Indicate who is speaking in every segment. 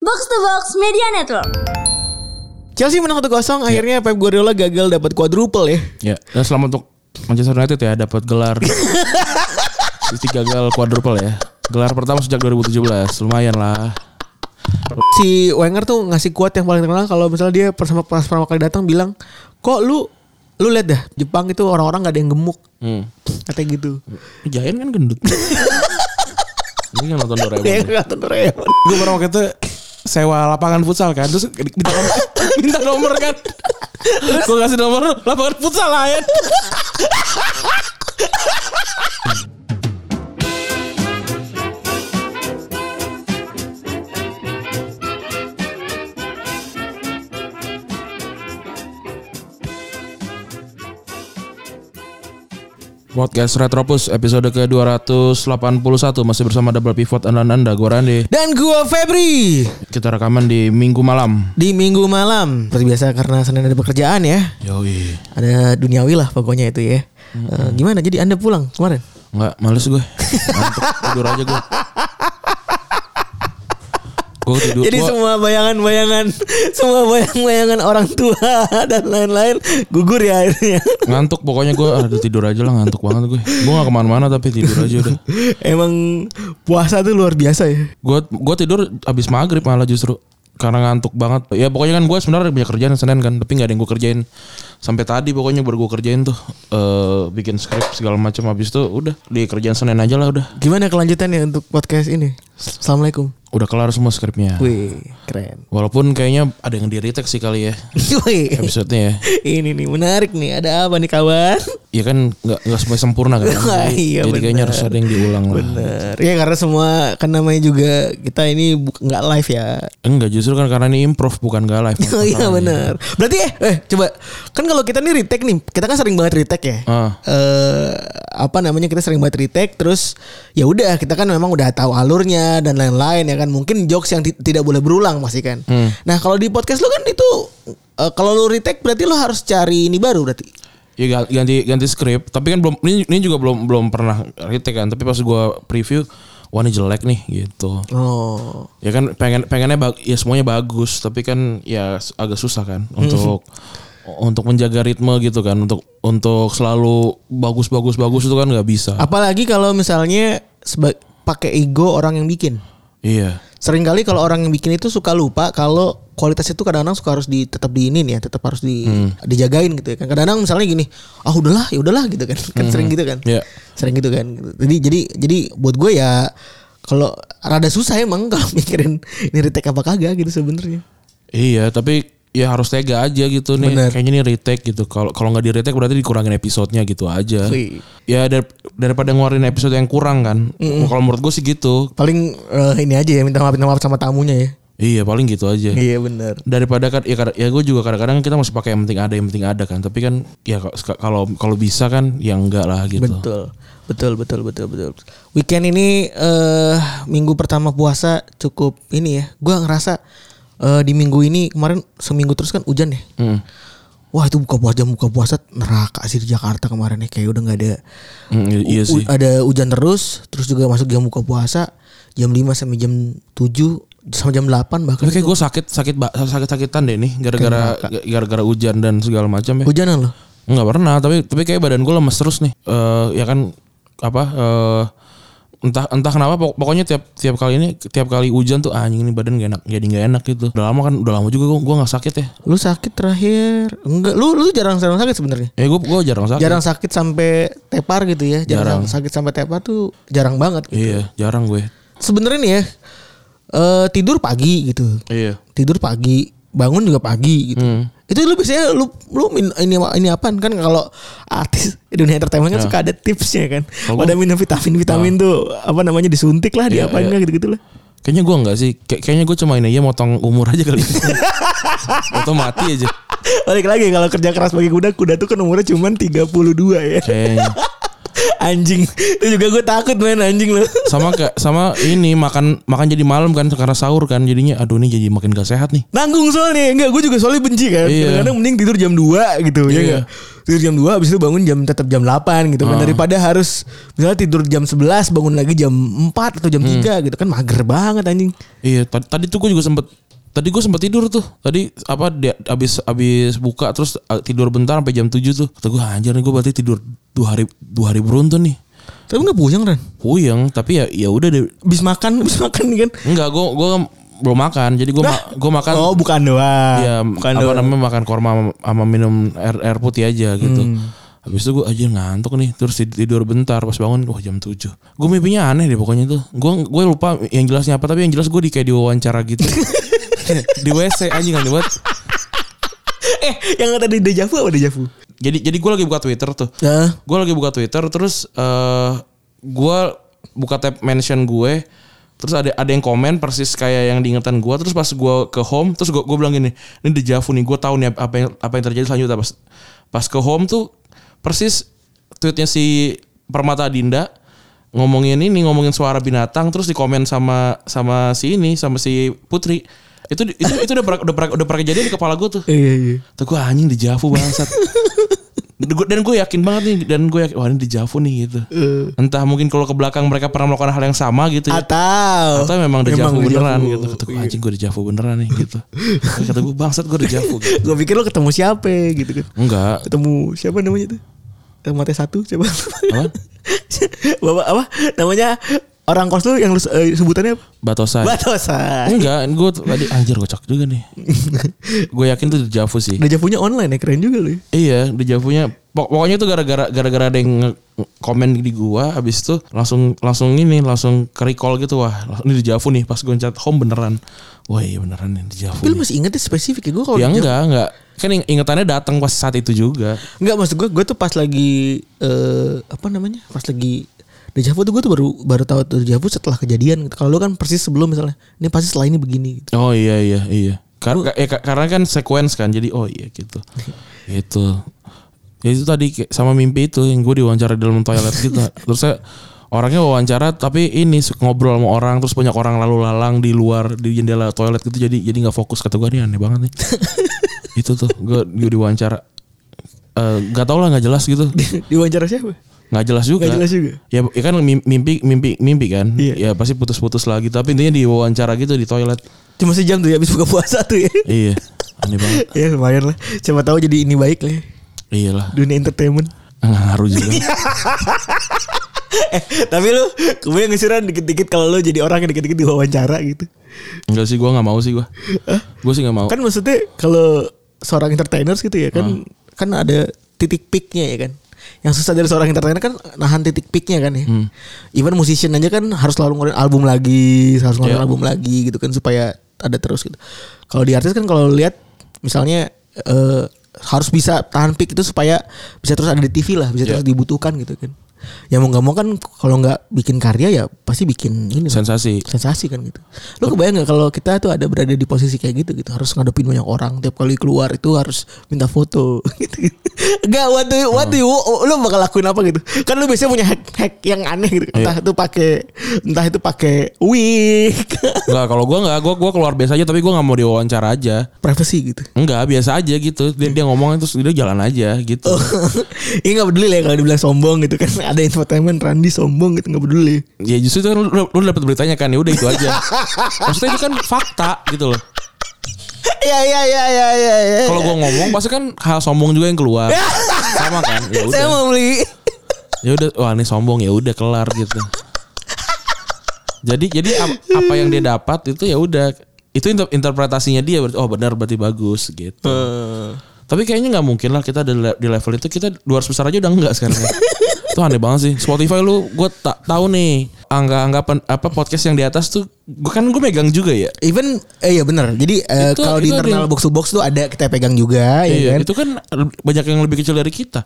Speaker 1: Box to Box Media Network.
Speaker 2: Chelsea menang 1-0 akhirnya Pep Guardiola gagal dapat quadruple ya.
Speaker 3: Ya, dan selamat untuk Manchester United ya dapat gelar City gagal quadruple ya. Gelar pertama sejak 2017. Lumayan lah.
Speaker 2: Si Wenger tuh ngasih kuat yang paling terkenal kalau misalnya dia pertama pas pertama kali datang bilang, "Kok lu lu lihat dah Jepang itu orang-orang gak ada yang gemuk."
Speaker 3: Hmm.
Speaker 2: Katanya gitu.
Speaker 3: Jayan kan gendut. Ini kan nonton
Speaker 2: Dia
Speaker 3: Doraemon.
Speaker 2: Ya, nggak tahu Doraemon.
Speaker 4: Gue pernah waktu itu sewa lapangan futsal kan terus minta nomor, minta nomor kan gue kasih nomor lapangan futsal lain
Speaker 3: Podcast Retropus episode ke-281 masih bersama Double Pivot andalan Anda gue Randy.
Speaker 2: Dan gua Febri
Speaker 3: Kita rekaman di Minggu malam.
Speaker 2: di Minggu malam seperti biasa karena Senin ada pekerjaan ya.
Speaker 3: Yoi.
Speaker 2: Ada duniawi lah pokoknya itu ya.
Speaker 3: Hmm.
Speaker 2: Eh, gimana jadi Anda pulang kemarin?
Speaker 3: Enggak, males gue. Ngantuk, tidur aja gue. Gue tidur.
Speaker 2: Jadi
Speaker 3: gua-
Speaker 2: semua bayangan-bayangan, semua bayang-bayangan orang tua dan lain-lain gugur ya akhirnya.
Speaker 3: ngantuk pokoknya gue ada tidur aja lah ngantuk banget gue gue gak kemana-mana tapi tidur aja udah
Speaker 2: Emang puasa tuh luar biasa ya.
Speaker 3: gue gue tidur abis maghrib malah justru karena ngantuk banget ya pokoknya kan gue sebenarnya punya kerjaan senin kan tapi nggak ada yang gue kerjain sampai tadi pokoknya baru gue kerjain tuh eh bikin script segala macam habis itu udah di kerjaan senin aja lah udah
Speaker 2: Gimana kelanjutannya untuk podcast ini? Assalamualaikum.
Speaker 3: udah kelar semua skripnya
Speaker 2: Wih, keren.
Speaker 3: walaupun kayaknya ada yang di retake sih kali ya
Speaker 2: Wih,
Speaker 3: episode-nya ya
Speaker 2: ini nih menarik nih. Ada apa nih kawan?
Speaker 3: ya kan nggak nggak semua sempurna kan
Speaker 2: Wah,
Speaker 3: jadi,
Speaker 2: iya,
Speaker 3: jadi kayaknya
Speaker 2: benar.
Speaker 3: harus ada yang diulang lah
Speaker 2: Bener. Ya karena semua kan namanya juga kita ini bu- nggak live ya.
Speaker 3: enggak justru kan karena ini improv bukan gak live
Speaker 2: Oh iya bener. Berarti eh, eh coba kan kalau kita nih retake nih, kita kan sering banget retake ya.
Speaker 3: Ah.
Speaker 2: eh apa namanya kita sering banget retake terus ya udah kita kan memang udah tahu alurnya dan lain-lain ya kan mungkin jokes yang ti- tidak boleh berulang pasti kan nah kalau di podcast lu kan itu eh, kalau lu retake berarti lu harus cari ini baru berarti
Speaker 3: Ya ga- ganti ganti skrip, tapi kan belum ini, ini juga belum belum pernah retake kan, tapi pas gua preview wah ini jelek nih gitu.
Speaker 2: oh
Speaker 3: Ya kan pengen pengennya bag- ya semuanya bagus, tapi kan ya s- agak susah kan untuk untuk menjaga ritme gitu kan, untuk untuk selalu bagus bagus bagus itu kan nggak bisa.
Speaker 2: apalagi kalau misalnya seba- pakai ego orang yang bikin
Speaker 3: Iya.
Speaker 2: seringkali kalau orang yang bikin itu suka lupa kalau kualitas itu kadang-kadang suka harus di tetap diinin ya tetap harus di dijagain gitu ya kan kadang-kadang misalnya gini ah udahlah ya udahlah gitu kan kan sering gitu kan
Speaker 3: Iya.
Speaker 2: sering gitu kan jadi jadi jadi buat gue ya kalau rada susah emang kalau mikirin ini retake apa kagak gitu sebenarnya
Speaker 3: Iya, tapi ya harus tega aja gitu nih.
Speaker 2: Bener.
Speaker 3: Kayaknya ini retake gitu. Kalau kalau nggak di retake berarti dikurangin episodenya gitu aja.
Speaker 2: Wih.
Speaker 3: Ya dar- daripada ngeluarin episode yang kurang kan. Kalau menurut gue sih gitu.
Speaker 2: paling eh, ini aja ya minta maaf minta maaf sama tamunya ya
Speaker 3: Iya, paling gitu aja.
Speaker 2: iya bener
Speaker 3: daripada kan ya, kad- ya gue juga kadang-kadang kita masih pakai yang penting ada yang penting ada kan tapi kan ya ka- ska- kalau kalau bisa kan ya enggak lah gitu
Speaker 2: Betul. Betul, betul, betul, betul. Weekend ini eh minggu pertama puasa cukup ini ya. Gua ngerasa eh, di minggu ini kemarin seminggu terus kan hujan ya.
Speaker 3: Hmm.
Speaker 2: Wah, itu buka puasa jam buka puasa neraka sih di Jakarta kemarin ya. Kayak udah nggak ada
Speaker 3: Hmm, i- iya
Speaker 2: u-
Speaker 3: sih
Speaker 2: ada hujan terus, terus juga masuk jam buka puasa jam 5 sampai jam 7 sampai jam 8 bahkan.
Speaker 3: tapi kayak gue sakit sakit ba- sakit sakitan deh nih gara-gara gara-gara hujan dan segala macam ya
Speaker 2: Hujanan loh.
Speaker 3: nggak pernah tapi tapi kayak badan gue lemes terus nih Eh ya kan apa eh entah entah kenapa pok- pokoknya tiap tiap kali ini tiap kali hujan tuh "Ah, anjing ini badan gak enak jadi nggak enak gitu udah lama kan udah lama juga gue nggak sakit ya
Speaker 2: Lu sakit terakhir? Enggak, lu lu jarang-jarang sakit sebenarnya.
Speaker 3: ya gue gue jarang sakit
Speaker 2: jarang sakit sampai tepar gitu ya jarang, sakit sampai tepar tuh jarang banget gitu.
Speaker 3: iya jarang gue
Speaker 2: sebenarnya nih ya eh, tidur pagi gitu
Speaker 3: iya
Speaker 2: tidur pagi bangun juga pagi gitu
Speaker 3: Hmm.
Speaker 2: itu lu biasanya lu lu min- ini ini apaan kan kalau artis dunia entertainment kan suka ada tipsnya kan
Speaker 3: Iya. Kalau
Speaker 2: pada minum vitamin vitamin tuh apa namanya disuntik lah di
Speaker 3: Iya,
Speaker 2: apain
Speaker 3: iya.
Speaker 2: nggak gitu gitu lah
Speaker 3: Kayaknya gue enggak sih. Kay- kayaknya gue cuma ini aja motong umur aja kali. Atau mati aja. Iya.
Speaker 2: balik lagi kalau kerja keras bagi kuda kuda tuh kan umurnya cuman 32 ya
Speaker 3: Kayaknya.
Speaker 2: anjing. Itu juga gue takut main anjing lu.
Speaker 3: sama kayak sama ini makan makan jadi malam kan karena sahur kan jadinya aduh ini jadi makin gak sehat nih
Speaker 2: Nanggung soalnya Enggak gue juga soalnya benci kan
Speaker 3: Iya.
Speaker 2: Kadang-kadang mending tidur jam 2 gitu ya
Speaker 3: Iya.
Speaker 2: nggak? Tidur jam 2 Abis itu bangun jam tetap jam 8 gitu kan
Speaker 3: Ah.
Speaker 2: Daripada harus Misalnya tidur jam 11 Bangun lagi jam 4 atau
Speaker 3: Hmm.
Speaker 2: jam 3 gitu kan Mager banget anjing
Speaker 3: Iya, tadi, tadi tuh gue juga sempet Tadi gue sempet tidur tuh. Tadi apa dia abis abis buka terus uh, tidur bentar sampai jam 7 tuh. Kata gue anjir nih gue berarti tidur dua hari dua hari beruntun nih.
Speaker 2: Tapi gak puyeng Ren
Speaker 3: Puyeng, tapi ya ya udah deh.
Speaker 2: Abis makan Abis makan nih kan
Speaker 3: Enggak, gue gue belum makan. Jadi gue ma- gue makan
Speaker 2: Oh bukan doang
Speaker 3: ya
Speaker 2: bukan
Speaker 3: apa
Speaker 2: doang.
Speaker 3: namanya makan korma sama- sama minum air, air putih aja gitu. Habis itu gue aja ngantuk nih, terus tid- tidur bentar pas bangun wah jam 7. Gue mimpinya aneh deh pokoknya tuh. Gue gue lupa yang jelasnya apa tapi yang jelas gue di kayak diwawancara gitu. di WC anjing kan buat.
Speaker 2: Eh yang tadi dejavu apa dejavu?
Speaker 3: Jadi jadi gue lagi buka Twitter tuh.
Speaker 2: Nah
Speaker 3: Gue lagi buka Twitter terus eh gue buka tab mention gue terus ada ada yang komen persis kayak yang diingetan gue terus pas gue ke home terus gue gue bilang gini ini dejavu nih gue tahu nih apa yang apa yang terjadi selanjutnya pas pas ke home tuh persis tweetnya si Permata Dinda ngomongin ini ngomongin suara binatang terus dikomen sama sama si ini sama si Putri itu itu itu udah pernah udah pernah udah pernah kejadian di kepala gue tuh
Speaker 2: Iya iya
Speaker 3: Tuh gue anjing di Javu bangsat. Gua- dan gue yakin banget nih dan gue yakin wah ini di Javu nih gitu. Entah mungkin kalau ke belakang mereka pernah melakukan hal yang sama gitu ya.
Speaker 2: Atau
Speaker 3: Atau memang di Javu
Speaker 2: Memang Iya. dejavu.
Speaker 3: beneran gitu. Kata gue anjing gue di Javu beneran nih gitu. Kata gue bangsat gue di Javu gitu.
Speaker 2: Gue pikir lo ketemu siapa gitu kan
Speaker 3: Enggak.
Speaker 2: Ketemu siapa namanya tuh Eh, Mate satu siapa
Speaker 3: Apa?
Speaker 2: Bapak apa namanya Orang kos lu yang lu eh, sebutannya apa?
Speaker 3: Batosai.
Speaker 2: Batosan
Speaker 3: Enggak, gue tadi anjir kocak juga nih. Gue yakin tuh di Javu sih.
Speaker 2: Dejavunya online ya keren juga lu ya.
Speaker 3: Iya, dejavunya pok- pokoknya itu gara-gara gara-gara ada yang nge- komen di gua habis itu langsung langsung ini langsung ke recall gitu wah ini dejavu nih pas gua cat home beneran. Wah, iya beneran ini dejavu.
Speaker 2: Tapi lu
Speaker 3: nih.
Speaker 2: masih inget ya spesifik ya gue kalau
Speaker 3: Ya
Speaker 2: dejavu-
Speaker 3: enggak, enggak. Kan ing- ingetannya datang pas saat itu juga.
Speaker 2: Enggak maksud gue Gue tuh pas lagi eh, Apa namanya Pas lagi Dejavu tuh gue tuh baru baru tahu tuh dejavu setelah kejadian. Kalau lu kan persis sebelum misalnya, ini pasti setelah ini begini. Gitu.
Speaker 3: Oh iya iya iya. Karena ya, ka- karena kan sequence kan jadi oh iya gitu. gitu. Ya itu tadi kayak sama mimpi itu yang gue diwawancara di dalam toilet gitu. terus saya orangnya wawancara tapi ini su- ngobrol sama orang terus banyak orang lalu lalang di luar di jendela toilet gitu jadi jadi nggak fokus kata gue nih aneh banget nih. itu tuh gue gue diwawancara Eh, nggak tau lah nggak jelas gitu
Speaker 2: Di wawancara siapa?
Speaker 3: nggak jelas juga
Speaker 2: Nggak jelas juga.
Speaker 3: ya, ya kan mim- mimpi mimpi mimpi kan
Speaker 2: Iya.
Speaker 3: ya pasti putus-putus lagi tapi intinya di wawancara gitu di toilet
Speaker 2: Cuma sejam tuh ya habis buka puasa tuh ya.
Speaker 3: iya aneh banget
Speaker 2: ya lumayan lah. Siapa tahu jadi ini baik lah ya.
Speaker 3: iyalah
Speaker 2: dunia entertainment.
Speaker 3: nggak ngaruh
Speaker 2: Iya.
Speaker 3: juga
Speaker 2: eh, tapi lu kemudian ngesiran dikit-dikit kalau lu jadi orang yang dikit-dikit diwawancara gitu.
Speaker 3: enggak sih gua nggak mau sih gua gua sih nggak mau Hmm.
Speaker 2: Kan maksudnya kalau seorang entertainers gitu ya kan kan ada titik peaknya ya kan. Yang susah dari seorang entertainer kan nahan titik peaknya kan ya.
Speaker 3: Hmm.
Speaker 2: Even musician aja kan harus selalu ngeluarin album lagi, harus ngeluarin
Speaker 3: Iya.
Speaker 2: album lagi gitu kan supaya ada terus gitu. Kalau di artis kan kalau lu lihat misalnya eh, harus bisa tahan peak itu supaya bisa terus ada di TV lah, bisa
Speaker 3: Iya.
Speaker 2: terus dibutuhkan gitu kan. Ya mau nggak mau kan kalau nggak bikin karya ya pasti bikin ini lah
Speaker 3: sensasi
Speaker 2: sensasi kan gitu. Lu kebayang nggak kalau kita tuh ada berada di posisi kayak gitu gitu harus ngadepin banyak orang tiap kali keluar itu harus minta foto gitu. Enggak what do you, what do you-
Speaker 3: Oh.
Speaker 2: lu bakal lakuin apa gitu. Kan lu biasanya punya hack hack yang aneh
Speaker 3: Iya.
Speaker 2: gitu. Entah itu pakai entah itu pakai wig,
Speaker 3: nggak kalau gua nggak gua gua keluar biasa aja tapi gua nggak mau diwawancara aja
Speaker 2: privacy gitu.
Speaker 3: Enggak biasa aja gitu dia, dia ngomong terus dia jalan aja gitu
Speaker 2: Oh. Ini nggak peduli lah ya kalau dibilang sombong gitu kan ada infotainment Randy sombong gitu nggak peduli.
Speaker 3: ya justru itu kan lu, lu dapet beritanya kan ya udah itu aja maksudnya itu kan fakta gitu loh
Speaker 2: Ya ya ya ya ya. ya.
Speaker 3: kalau gua ngomong pasti kan hal sombong juga yang keluar sama kan ya
Speaker 2: saya
Speaker 3: udah
Speaker 2: mau beli
Speaker 3: ya udah wah ini sombong ya udah kelar gitu jadi jadi ap- apa yang dia dapat itu ya udah itu inter- interpretasinya dia berarti oh benar berarti bagus gitu tapi kayaknya nggak mungkin lah kita di, le- di level itu kita 200 besar aja udah enggak sekarang itu aneh banget sih Spotify lu gue tak tahu nih angka angka apa podcast yang di atas tuh gue kan gue megang juga ya
Speaker 2: Even eh ya benar. Jadi eh,
Speaker 3: Itu-
Speaker 2: kalau di
Speaker 3: itu ada
Speaker 2: internal
Speaker 3: yang-
Speaker 2: box to box tuh ada kita pegang juga ya
Speaker 3: Iya,
Speaker 2: kan.
Speaker 3: itu kan banyak yang lebih kecil dari kita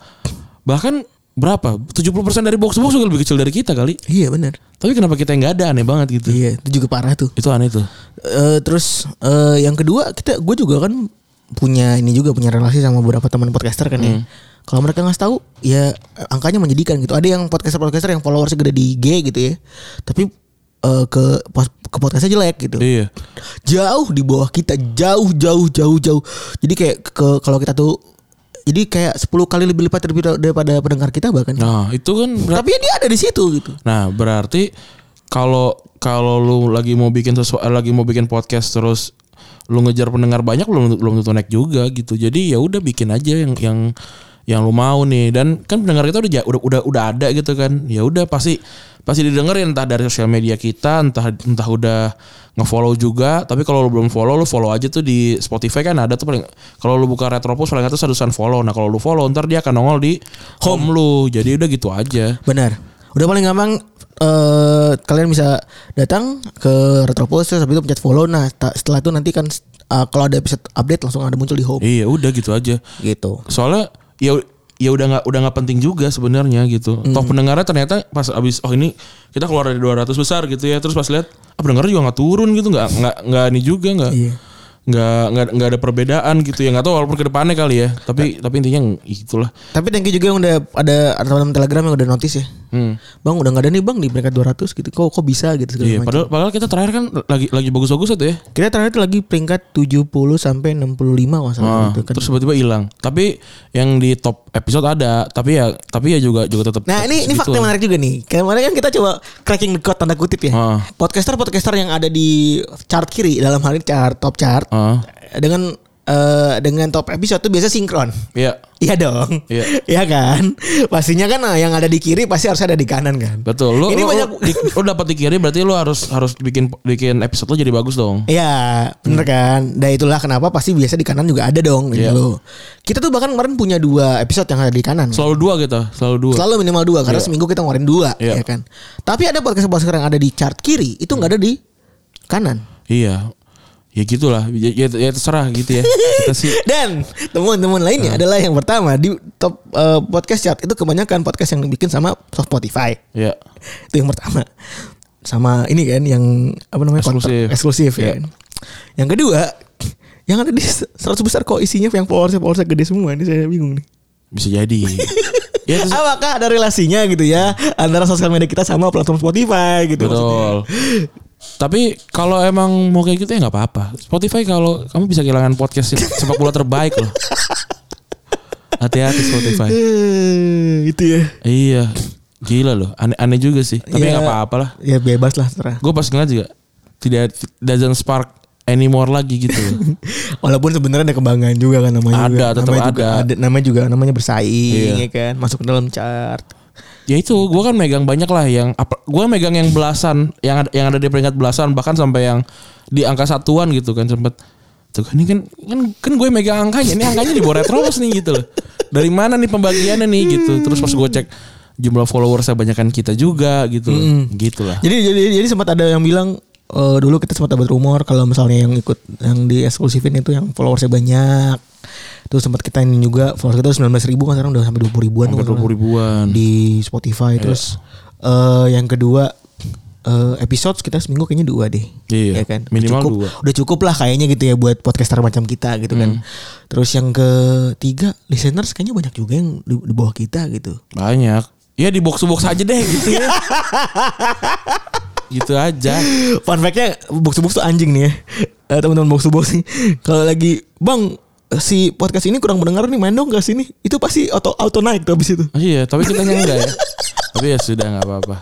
Speaker 3: bahkan berapa 70% dari box box juga lebih kecil dari kita kali
Speaker 2: Iya benar.
Speaker 3: tapi kenapa kita yang nggak ada aneh banget gitu
Speaker 2: Iya, itu juga parah tuh.
Speaker 3: itu aneh tuh
Speaker 2: Eh, terus eh, yang kedua kita gue juga kan punya ini juga punya relasi sama beberapa teman podcaster kan ya.
Speaker 3: Hmm.
Speaker 2: Kalau mereka nggak tahu, ya eh, angkanya menjadikan gitu. Ada yang podcaster-podcaster yang followersnya gede di IG gitu ya, tapi eh, ke ke podcastnya jelek gitu
Speaker 3: Iya.
Speaker 2: jauh di bawah kita jauh jauh jauh jauh jadi kayak ke kalau kita tuh jadi kayak 10 kali lebih lipat daripada, daripada pendengar kita bahkan
Speaker 3: Nah, itu kan berarti
Speaker 2: tapi ya dia ada di situ gitu
Speaker 3: Nah, berarti kalau kalau lu lagi mau bikin sesuatu lagi mau bikin podcast terus lu ngejar pendengar banyak belum belum tentu naik juga gitu. Jadi ya udah bikin aja yang yang yang lu mau nih dan kan pendengar kita udah ja- udah udah, udah ada gitu kan. Ya udah pasti pasti didengerin entah dari sosial media kita entah entah udah ngefollow juga tapi kalau lu belum follow lu follow aja tuh di Spotify kan ada tuh paling kalau lu buka Retropus paling atas ada tulisan follow nah kalau lu follow ntar dia akan nongol di home lu jadi udah gitu aja
Speaker 2: benar udah paling gampang eh kalian bisa datang ke Retropus terus habis itu pencet follow nah ta- setelah itu nanti kan eh, kalau ada episode update langsung ada muncul di home
Speaker 3: Iya udah gitu aja.
Speaker 2: gitu
Speaker 3: Soalnya ya ya udah nggak udah nggak penting juga sebenarnya gitu.
Speaker 2: Hmm.
Speaker 3: Toh pendengarnya ternyata pas abis oh ini kita keluar dari 200 besar gitu ya. Terus pas lihat ah pendengarnya juga nggak turun gitu nggak nggak nggak ini juga nggak
Speaker 2: Iya.
Speaker 3: nggak nggak nggak ada perbedaan gitu ya nggak tahu walaupun kedepannya kali ya. Tapi tapi intinya itulah.
Speaker 2: tapi thank you juga yang udah ada ada teman telegram yang udah notice ya bang udah nggak ada nih bang di peringkat 200 gitu kok kok bisa gitu segala
Speaker 3: Hmm. Iya,
Speaker 2: macam.
Speaker 3: padahal, padahal kita terakhir kan lagi lagi bagus-bagus itu ya.
Speaker 2: Kita terakhir lagi peringkat 70 sampai 65 kalau salah
Speaker 3: Ah,
Speaker 2: gitu kan.
Speaker 3: terus tiba-tiba hilang. Tapi yang di top episode ada, tapi ya tapi ya juga juga gitu. tetap
Speaker 2: Nah, ini ini fakta yang menarik juga nih. Kemarin kan kita coba cracking the code tanda kutip ya.
Speaker 3: Ah.
Speaker 2: Podcaster-podcaster yang ada di chart kiri dalam hal ini chart top chart
Speaker 3: Ah.
Speaker 2: dengan eh, dengan top episode tuh biasa sinkron.
Speaker 3: Iya,
Speaker 2: Iya dong.
Speaker 3: Iya.
Speaker 2: kan? Pastinya kan nah, yang ada di kiri pasti harus ada di kanan kan.
Speaker 3: Betul. Lu
Speaker 2: Ini
Speaker 3: lu,
Speaker 2: banyak-
Speaker 3: lu, di, lu dapat dikirim berarti lu harus harus bikin bikin episode lu jadi bagus dong.
Speaker 2: Iya, bener kan? Dan itulah kenapa pasti biasa di kanan juga ada dong gitu loh.
Speaker 3: Hmm. Iya.
Speaker 2: Kita tuh bahkan kemarin punya dua episode yang ada di kanan.
Speaker 3: Selalu dua gitu, selalu dua.
Speaker 2: Selalu minimal dua karena seminggu kita ngeluarin dua
Speaker 3: Iya.
Speaker 2: ya kan. Tapi ada podcast podcast yang ada di chart kiri itu nggak ada di kanan.
Speaker 3: Iya. Ya gitulah. Ya, ya, ya terserah gitu ya. Kita sih
Speaker 2: Dan teman-teman
Speaker 3: Ah.
Speaker 2: lainnya adalah yang pertama di top eh, podcast chart itu kebanyakan podcast yang dibikin sama Spotify.
Speaker 3: ya.
Speaker 2: Itu yang pertama. Sama ini kan yang apa namanya kontrak-
Speaker 3: Eksklusif.
Speaker 2: eksklusif ya.
Speaker 3: Iya.
Speaker 2: kan. Yang kedua yang ada di 100 besar kok isinya yang followersnya followersnya gede semua ini saya bingung nih.
Speaker 3: Bisa jadi. ya terus-
Speaker 2: Apakah ada relasinya gitu ya antara sosial media kita sama platform Spotify gitu maksudnya.
Speaker 3: betul. Tapi kalau emang mau kayak gitu ya nggak apa-apa. Spotify kalau kamu bisa kehilangan podcast sepak bola terbaik loh. Hati-hati Spotify.
Speaker 2: Eh, itu ya.
Speaker 3: Iya. Gila loh. Aneh, aneh juga sih. Tapi
Speaker 2: Ya,
Speaker 3: nggak apa-apa lah.
Speaker 2: Ya bebas lah terserah.
Speaker 3: Gue pas ngeliat juga tidak doesn't spark anymore lagi gitu.
Speaker 2: Walaupun sebenarnya ada kebanggaan juga kan namanya.
Speaker 3: Ada,
Speaker 2: juga.
Speaker 3: tetap
Speaker 2: namanya Juga,
Speaker 3: ada.
Speaker 2: namanya juga namanya bersaing
Speaker 3: Iya.
Speaker 2: ya kan, masuk ke dalam chart.
Speaker 3: Ya itu, gue kan megang banyak lah yang apa, gue megang yang belasan, yang ada, yang ada di peringkat belasan bahkan sampai yang di angka satuan gitu kan sempet. Tuh kan ini kan kan, kan gue megang angkanya, ini angkanya di bawah terus nih gitu loh. Dari mana nih pembagiannya nih gitu. Terus pas gue cek jumlah followers banyakan kita juga gitu. Gitu lah.
Speaker 2: Jadi jadi jadi sempat ada yang bilang eh, dulu kita sempat dapat rumor kalau misalnya yang ikut yang di eksklusifin itu yang followersnya banyak. Terus sempat kita ini juga followers kita 19 ribu kan sekarang udah sampai 20 ribuan
Speaker 3: Sampai
Speaker 2: tuh kan.
Speaker 3: 20 ribuan. Iya.
Speaker 2: di Spotify terus eh yang kedua eh episode kita seminggu kayaknya dua deh. Ya
Speaker 3: Iya,
Speaker 2: kan? Udah
Speaker 3: minimal
Speaker 2: cukup,
Speaker 3: dua. Hmm.
Speaker 2: Udah cukup lah kayaknya gitu ya buat podcaster macam kita gitu kan. Terus yang ketiga listeners kayaknya banyak juga yang di, di bawah kita gitu.
Speaker 3: Banyak. Ya di box to box aja deh gitu ya. gitu aja.
Speaker 2: Fun fact-nya box to box tuh anjing nih ya. Eh, teman-teman box to box nih. Kalau lagi Bang si podcast ini kurang mendengar nih main dong ke sini. Itu pasti auto auto naik tuh abis itu.
Speaker 3: Oh iya, tapi kita enggak ya. tapi ya sudah nggak apa-apa.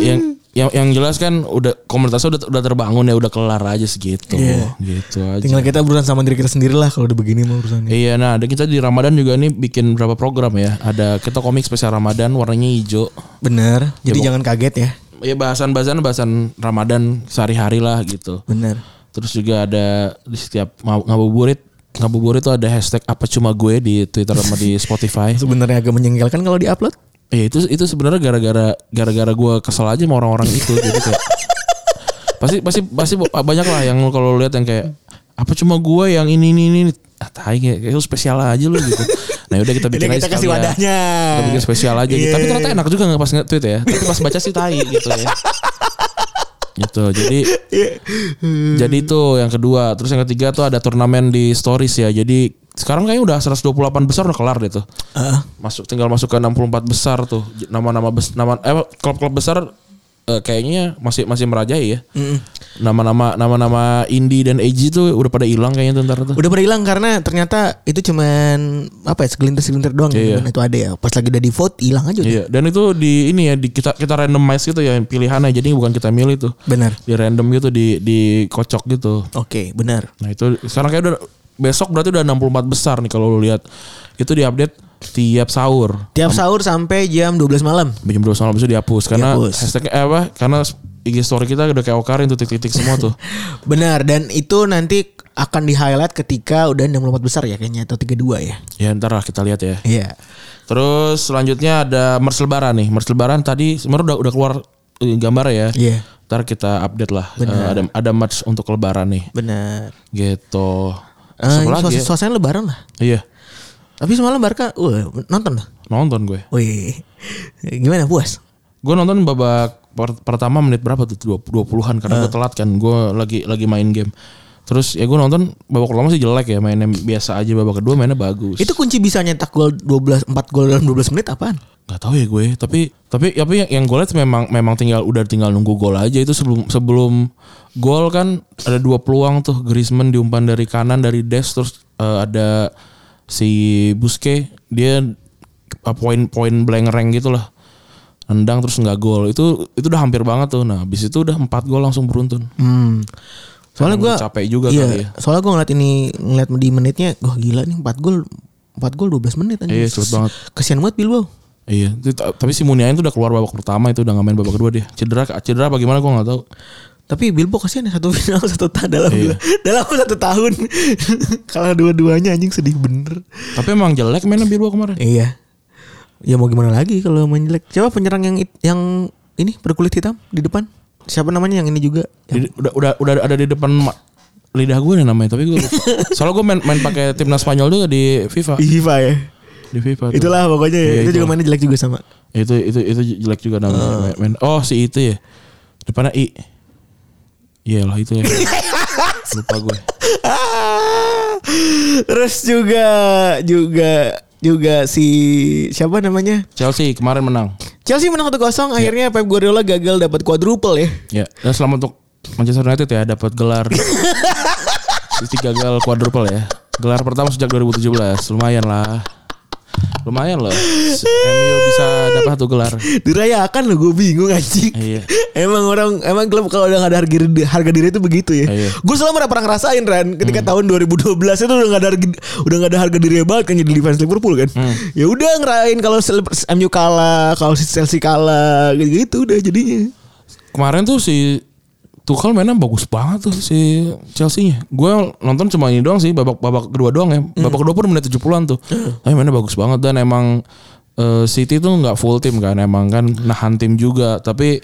Speaker 3: yang yang yang jelas kan udah komunitasnya udah udah terbangun ya udah kelar aja segitu.
Speaker 2: Iya.
Speaker 3: Gitu aja.
Speaker 2: Tinggal kita berurusan sama diri kita sendiri lah kalau udah begini mah urusannya.
Speaker 3: Iya, nah ada kita di Ramadan juga nih bikin berapa program ya. Ada kita komik spesial Ramadan warnanya hijau.
Speaker 2: Bener. Jadi jangan kaget ya.
Speaker 3: Ya bahasan-bahasan bahasan Ramadan sehari-hari lah gitu.
Speaker 2: Bener.
Speaker 3: Terus juga ada di setiap ngab- ngabuburit ngabuburit itu ada hashtag apa cuma gue di Twitter sama di Spotify.
Speaker 2: Sebenarnya agak menyengkelkan kalau diupload.
Speaker 3: Ya itu itu sebenarnya gara-gara gara-gara gue kesel aja sama orang-orang itu jadi kayak pasti pasti pasti banyak lah yang kalau lihat yang kayak apa cuma gue yang ini ini ini ah tai kayak, kayak lu spesial aja lu gitu. Nah udah kita
Speaker 2: Jadi
Speaker 3: bikin aja
Speaker 2: kita kasih
Speaker 3: sekalian.
Speaker 2: wadahnya.
Speaker 3: Kita bikin spesial aja. gitu. Tapi
Speaker 2: Iya.
Speaker 3: ternyata enak juga nggak pas nge-tweet ya. Tapi pas baca sih tai gitu ya. gitu jadi jadi itu yang kedua terus yang ketiga tuh ada turnamen di stories ya jadi sekarang kayaknya udah 128 besar udah kelar deh tuh masuk tinggal masuk ke 64 besar tuh nama-nama bes, nama eh klub-klub besar eh, kayaknya masih masih merajai ya nama-nama nama-nama indie dan AG tuh udah pada hilang kayaknya tuh ntar tuh
Speaker 2: Udah pada hilang karena ternyata itu cuman apa ya segelintir-segelintir doang
Speaker 3: Iya, iya.
Speaker 2: yang itu ada ya. Pas lagi udah di vote hilang aja udah.
Speaker 3: Iya, dan itu di ini ya di kita kita randomize gitu ya pilihannya. Jadi bukan kita milih tuh.
Speaker 2: Benar.
Speaker 3: Di random gitu di dikocok gitu.
Speaker 2: Oke, benar.
Speaker 3: Nah, itu sekarang kayak udah besok berarti udah 64 besar nih kalau lu lihat. Itu diupdate tiap sahur.
Speaker 2: Tiap sahur sampai jam 12 malam.
Speaker 3: Jam 2 malam itu dihapus karena
Speaker 2: Dihapus.
Speaker 3: hashtag eh, apa? Karena IG story kita udah kayak okarin tuh titik-titik semua tuh.
Speaker 2: Benar dan itu nanti akan di highlight ketika udah 64 besar ya kayaknya atau 32 ya.
Speaker 3: ya ntar lah kita lihat ya.
Speaker 2: Iya.
Speaker 3: Terus selanjutnya ada Mers Lebaran nih. Mers Lebaran tadi sebenarnya udah udah keluar eh, gambar ya.
Speaker 2: Iya.
Speaker 3: Ntar kita update lah. Eh, ada ada merch untuk Lebaran nih.
Speaker 2: Benar.
Speaker 3: gitu
Speaker 2: Eh,
Speaker 3: Siapa lagi
Speaker 2: suas-
Speaker 3: ya?
Speaker 2: suasana lebaran lah.
Speaker 3: iya
Speaker 2: Tapi semalam Barca wah, nonton lah.
Speaker 3: nonton gue
Speaker 2: Wih. Gimana puas?
Speaker 3: gue nonton babak per- pertama menit berapa tuh dua dua puluhan
Speaker 2: Ah.
Speaker 3: karena gue telat kan gue lagi lagi main game terus ya gue nonton babak pertama sih jelek ya mainnya biasa aja babak kedua mainnya bagus
Speaker 2: Itu kunci bisa nyetak gol 12 4 gol dalam 12 menit apaan?
Speaker 3: nggak tahu ya gue tapi tapi tapi yang, yang gue lihat memang memang tinggal udah tinggal nunggu gol aja itu sebelum sebelum gol kan ada dua peluang tuh Griezmann diumpan dari kanan dari Des terus eh, ada si Buske dia eh, poin-poin blank gitu lah nendang terus nggak gol itu itu udah hampir banget tuh nah habis itu udah empat gol langsung beruntun
Speaker 2: Hmm. Soalnya
Speaker 3: Karena
Speaker 2: gua
Speaker 3: capek juga
Speaker 2: iya,
Speaker 3: kali ya.
Speaker 2: Soalnya gua ngeliat ini ngeliat di menitnya, wah gila nih 4 gol 4 gol 12 menit anjing.
Speaker 3: Iya, cepet banget.
Speaker 2: Kesian banget Bilbao.
Speaker 3: iya itu- ta- tapi si Muniain tuh udah keluar babak pertama itu udah nggak main babak kedua dia cedera cedera bagaimana gue nggak tahu
Speaker 2: Tapi Bilbao kasihan ya satu final satu tahun dalam dalam satu tahun. Kalau dua-duanya anjing sedih bener.
Speaker 3: tapi emang jelek mainnya Bilbao kemarin
Speaker 2: Iya. Ya mau gimana lagi kalau main jelek. Coba penyerang yang it- yang ini berkulit hitam di depan. Siapa namanya yang ini juga?
Speaker 3: Di- udah udah udah ada di depan ma- lidah gue nih namanya tapi gue lupa. soalnya gue main main pakai timnas Spanyol juga di FIFA
Speaker 2: FIFA ya.
Speaker 3: di FIFA tuh.
Speaker 2: Itulah pokoknya ya.
Speaker 3: Iya,
Speaker 2: itu juga Ah.
Speaker 3: itulah.
Speaker 2: mainnya jelek juga sama.
Speaker 3: itu itu itu jelek juga namanya main, oh si itu ya depannya i iyalah itu ya lupa gue
Speaker 2: Terus juga juga juga si siapa namanya?
Speaker 3: Chelsea kemarin menang
Speaker 2: Chelsea menang 1-0 akhirnya Pep Guardiola gagal dapat quadruple ya.
Speaker 3: ya dan selamat untuk Manchester United ya dapat gelar Sisi gagal quadruple ya gelar pertama sejak 2017 lumayan lah lumayan loh MU bisa dapat satu gelar
Speaker 2: Dirayakan lo gue bingung anjing.
Speaker 3: Iya.
Speaker 2: emang orang emang klub kalau udah nggak ada harga diri, harga diri itu begitu ya.
Speaker 3: Iya.
Speaker 2: Gue selama udah pernah ngerasain Ran ketika tahun 2012 itu udah nggak ada harga, udah nggak ada harga diri banget kan jadi fans Liverpool kan. Ya udah ngerayain kalau sel- MU kalah, kalau si Chelsea kalah gitu udah jadinya.
Speaker 3: kemarin tuh si Tuchel mainnya bagus banget tuh si Chelsea-nya. Gue nonton cuma ini doang sih babak babak kedua doang ya. Babak kedua pun menit 70-an tuh. Tapi mainnya bagus banget dan emang eh, City tuh nggak full tim kan emang kan nahan tim juga tapi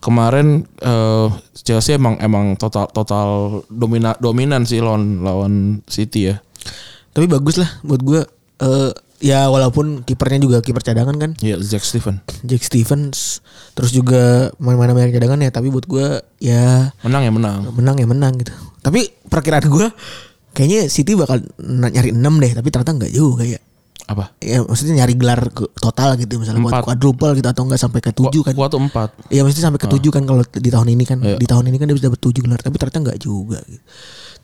Speaker 3: kemarin eh, Chelsea emang emang total total domina, dominan sih lawan lawan City ya.
Speaker 2: Tapi bagus lah buat gue. Eh, ya walaupun kipernya juga kiper cadangan kan.
Speaker 3: Iya, Jack Steven.
Speaker 2: Jake Stevens terus juga main-main banyak cadangan ya tapi buat gue ya
Speaker 3: Menang ya menang.
Speaker 2: menang ya menang gitu tapi perkiraan gue kayaknya City bakal na- nyari 6 deh tapi ternyata nggak juga ya
Speaker 3: Apa?
Speaker 2: ya maksudnya nyari gelar ke- total gitu misalnya buat
Speaker 3: Empat.
Speaker 2: quadruple gitu atau enggak sampai ke 7 kan
Speaker 3: Kuat tuh 4.
Speaker 2: Iya mesti sampai ke tujuh kan kalau di tahun ini kan
Speaker 3: Ah. Iya.
Speaker 2: di tahun ini kan dia bisa dapat tujuh gelar tapi ternyata nggak juga. Gitu.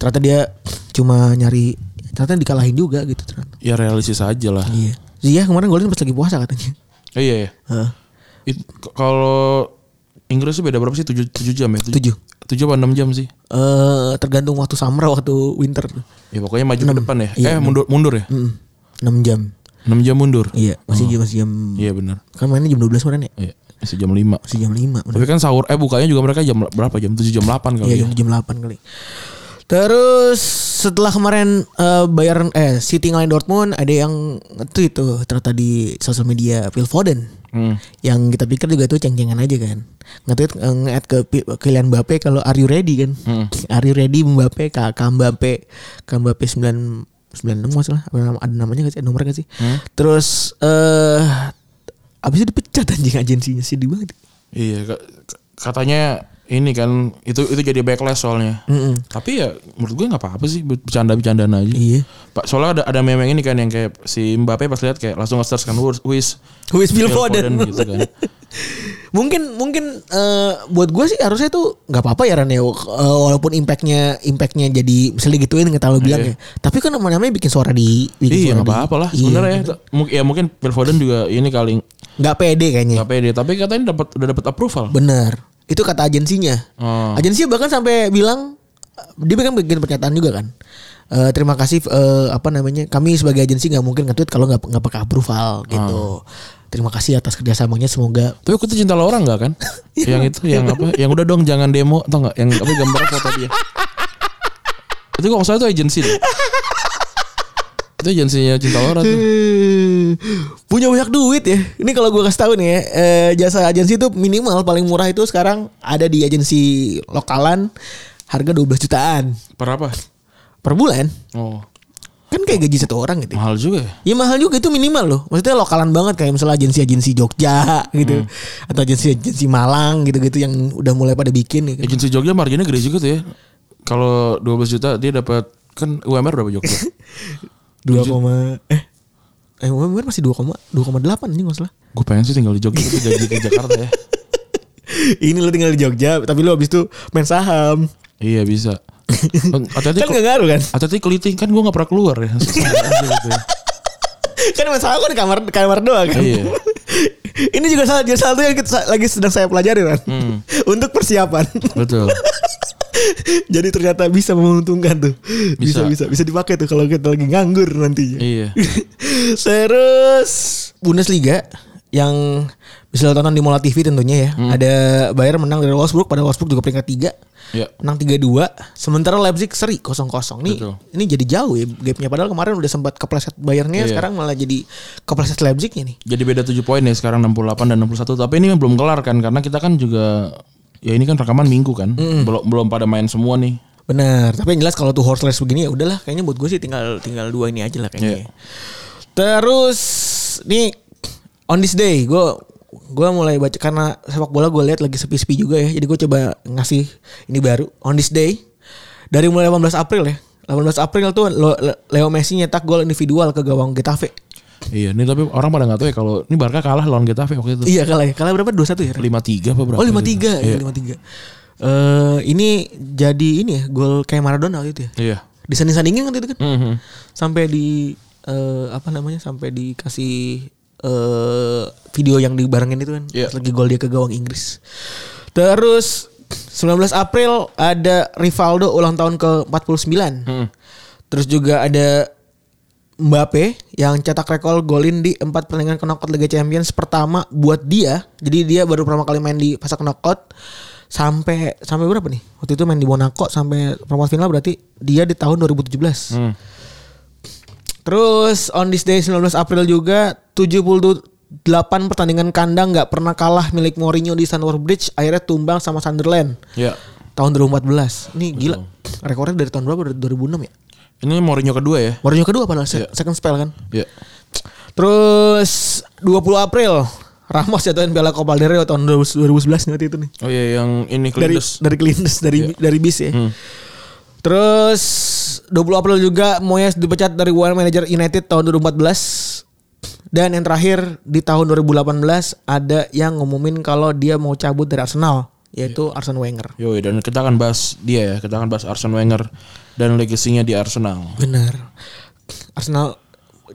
Speaker 2: Ternyata dia cuma nyari ternyata dikalahin juga gitu ternyata.
Speaker 3: Ya realistis aja lah.
Speaker 2: Iya. Iya kemarin golin pas lagi puasa katanya.
Speaker 3: Eh, iya ya.
Speaker 2: Heeh.
Speaker 3: It- k- kalau Inggris tuh beda berapa sih? 7, 7 jam ya?
Speaker 2: Tujuh.
Speaker 3: 7 apa 6 jam sih?
Speaker 2: Eh tergantung waktu summer waktu winter.
Speaker 3: Ya pokoknya maju ke depan ya.
Speaker 2: Iya,
Speaker 3: eh mundur mundur ya?
Speaker 2: Mm, 6 jam.
Speaker 3: 6 jam mundur.
Speaker 2: Iya, masih jam masih jam
Speaker 3: Iya benar.
Speaker 2: kan mainnya jam 12 kemarin ya?
Speaker 3: Iya, masih jam 5.
Speaker 2: Masih jam 5. bener.
Speaker 3: Tapi kan sahur eh bukanya juga mereka jam berapa? Jam 7 jam 8 kali
Speaker 2: Iya,
Speaker 3: ya.
Speaker 2: jam, jam 8 kali. Terus setelah kemarin eh, Bayern eh City ngalahin Dortmund ada yang itu itu ternyata di sosial media Phil Foden. Yang kita pikir juga itu ceng-cengan aja kan. Nge-tweet eh, nge-add ke Pi- Kylian Mbappe kalau are you ready kan. Are you ready Mbappe Kak Kak Mbappe Kak Mbappe 9 96 nggak salah. Apa nama- Ada namanya nggak sih? Ada Nomornya nggak sih? Terus eh abis itu dipecat anjing agensinya sedih banget.
Speaker 3: Iya, ka- ka- katanya ini kan itu itu jadi backlash soalnya. Tapi ya menurut gue nggak apa-apa sih bercanda-bercandaan aja.
Speaker 2: Iya.
Speaker 3: Pak soalnya ada ada meme yang ini kan yang kayak si Mbappe pas lihat kayak langsung nge-search kan "Who is- who is
Speaker 2: Who is Phil
Speaker 3: Phil
Speaker 2: Foden?
Speaker 3: gitu kan.
Speaker 2: mungkin mungkin eh, buat gue sih harusnya tuh nggak apa-apa ya Ran ya Eh, walaupun impactnya impactnya jadi misalnya gituin kita lo bilang ya
Speaker 3: Iya.
Speaker 2: tapi kan namanya bikin suara di bikin
Speaker 3: Iya
Speaker 2: suara
Speaker 3: nggak
Speaker 2: di-
Speaker 3: apa-apa lah
Speaker 2: Iya.
Speaker 3: sebenarnya ya. Mungkin ya mungkin Phil Foden juga ini kali
Speaker 2: nggak pede kayaknya
Speaker 3: nggak pede tapi katanya dapat udah dapat approval.
Speaker 2: bener itu kata agensinya
Speaker 3: Oh.
Speaker 2: agensinya bahkan sampai bilang eh, dia kan bikin pernyataan juga kan Eh, terima kasih eh, apa namanya kami sebagai agensi nggak mungkin nge-tweet kalau nggak nggak pakai approval
Speaker 3: Oh.
Speaker 2: gitu terima kasih atas kerjasamanya semoga
Speaker 3: Tapi aku tuh cinta lo orang nggak kan? yang itu yang apa? Yang udah dong jangan demo atau nggak? Yang apa gambar foto dia? itu kok salah itu agensi deh. itu agensinya cinta lo orang tuh.
Speaker 2: Eh, punya banyak duit ya. Ini kalau gue kasih tahu nih ya, eh, jasa agensi itu minimal paling murah itu sekarang ada di agensi lokalan harga 12 jutaan
Speaker 3: Berapa?
Speaker 2: per bulan.
Speaker 3: Oh
Speaker 2: Kan kayak gaji satu orang gitu.
Speaker 3: mahal juga. ya?
Speaker 2: Ya mahal juga itu minimal loh. Maksudnya lokalan banget kayak misalnya agensi-agensi Jogja gitu atau agensi-agensi Malang gitu-gitu yang udah mulai pada bikin gitu.
Speaker 3: Agensi Jogja marginnya gede juga tuh ya. Kalau 12 juta dia dapat kan UMR berapa Jogja?
Speaker 2: 2, koma- eh eh UMR masih 2, 2,8 anjing enggak salah.
Speaker 3: Gue pengen sih tinggal di Jogja tapi gaji ke Jakarta ya.
Speaker 2: Ini lo tinggal di Jogja tapi lo habis itu main saham.
Speaker 3: Iya bisa. Hati-hati
Speaker 2: Kan
Speaker 3: kok-
Speaker 2: gak ngaruh kan?
Speaker 3: hati-hati keliting kan gue nggak pernah keluar ya. gitu ya.
Speaker 2: kan masalah kan di kamar di kamar doang kan.
Speaker 3: Iya.
Speaker 2: Ini juga salah jadi satu yang kita, lagi sedang saya pelajari kan. Untuk persiapan.
Speaker 3: Betul.
Speaker 2: jadi ternyata bisa menguntungkan tuh. Bisa bisa
Speaker 3: Bisa.
Speaker 2: bisa dipakai tuh kalau kita lagi nganggur nantinya.
Speaker 3: Iya.
Speaker 2: Terus Bundesliga yang bisa lo tonton di Mola TV tentunya ya.
Speaker 3: Hmm.
Speaker 2: Ada Bayern menang dari Wolfsburg pada Wolfsburg juga peringkat 3.
Speaker 3: Iya.
Speaker 2: Menang 3-2 Sementara Leipzig seri 0-0 Nih
Speaker 3: Betul.
Speaker 2: ini jadi jauh ya gapnya Padahal kemarin udah sempat kepleset Bayernnya
Speaker 3: Iya.
Speaker 2: Sekarang malah jadi kepleset Leipzignya nih
Speaker 3: Jadi beda 7 poin ya sekarang 68 dan 61. Tapi ini belum kelar kan karena kita kan juga ya ini kan rekaman minggu kan. Belum belum pada main semua nih.
Speaker 2: Benar, tapi yang jelas kalau tuh horseless begini ya udahlah kayaknya buat gue sih tinggal tinggal dua ini aja lah kayaknya.
Speaker 3: Iya.
Speaker 2: Terus nih on this day gue gue mulai baca karena sepak bola gue lihat lagi sepi-sepi juga ya. Jadi gue coba ngasih ini baru on this day dari mulai 18 April ya. 18 April tuh Lo- Le- Leo Messi nyetak gol individual ke gawang Getafe.
Speaker 3: Iya, ini tapi orang pada nggak tahu ya kalau ini Barca kalah lawan Getafe waktu itu.
Speaker 2: Iya kalah ya. Kalah berapa? 2-1 ya?
Speaker 3: 53 apa berapa?
Speaker 2: Oh 53,
Speaker 3: Iya.
Speaker 2: iya 53. Eh ini jadi ini ya gol kayak Maradona waktu itu ya.
Speaker 3: Iya.
Speaker 2: Disanding-sandingin kan itu kan.
Speaker 3: Mhm.
Speaker 2: sampai di eh, apa namanya sampai dikasih eh, video yang dibarengin itu kan
Speaker 3: Iya.
Speaker 2: Pas lagi gol dia ke gawang Inggris terus 19 April ada Rivaldo ulang tahun ke 49
Speaker 3: Hmm.
Speaker 2: terus juga ada Mbappe yang cetak rekor golin di empat pertandingan knockout Liga Champions pertama buat dia jadi dia baru pertama kali main di fase knockout sampai sampai berapa nih waktu itu main di Monaco sampai perempat final berarti dia di tahun 2017
Speaker 3: Hmm.
Speaker 2: Terus on this day 19 April juga 78 pertandingan kandang nggak pernah kalah milik Mourinho di Stamford Bridge akhirnya tumbang sama Sunderland
Speaker 3: Iya.
Speaker 2: tahun 2014. Ini gila. Rekornya dari tahun berapa? Dari 2006 ya.
Speaker 3: Ini Mourinho kedua ya?
Speaker 2: Mourinho kedua padahal se- second spell kan.
Speaker 3: Iya.
Speaker 2: Terus 20 April Ramos jatuhin Piala Copa del Rey tahun 2011 nih waktu itu nih.
Speaker 3: Oh iya yang ini
Speaker 2: Dari
Speaker 3: Klindes.
Speaker 2: dari Kelindes dari dari bis ya. Terus 20 April juga Moyes dipecat dari One Manager United tahun 2014. Dan yang terakhir di tahun 2018 ada yang ngumumin kalau dia mau cabut dari Arsenal yaitu Arsene Wenger.
Speaker 3: Yo, dan kita akan bahas dia ya, kita akan bahas Arsene Wenger dan legasinya di Arsenal.
Speaker 2: Benar. Arsenal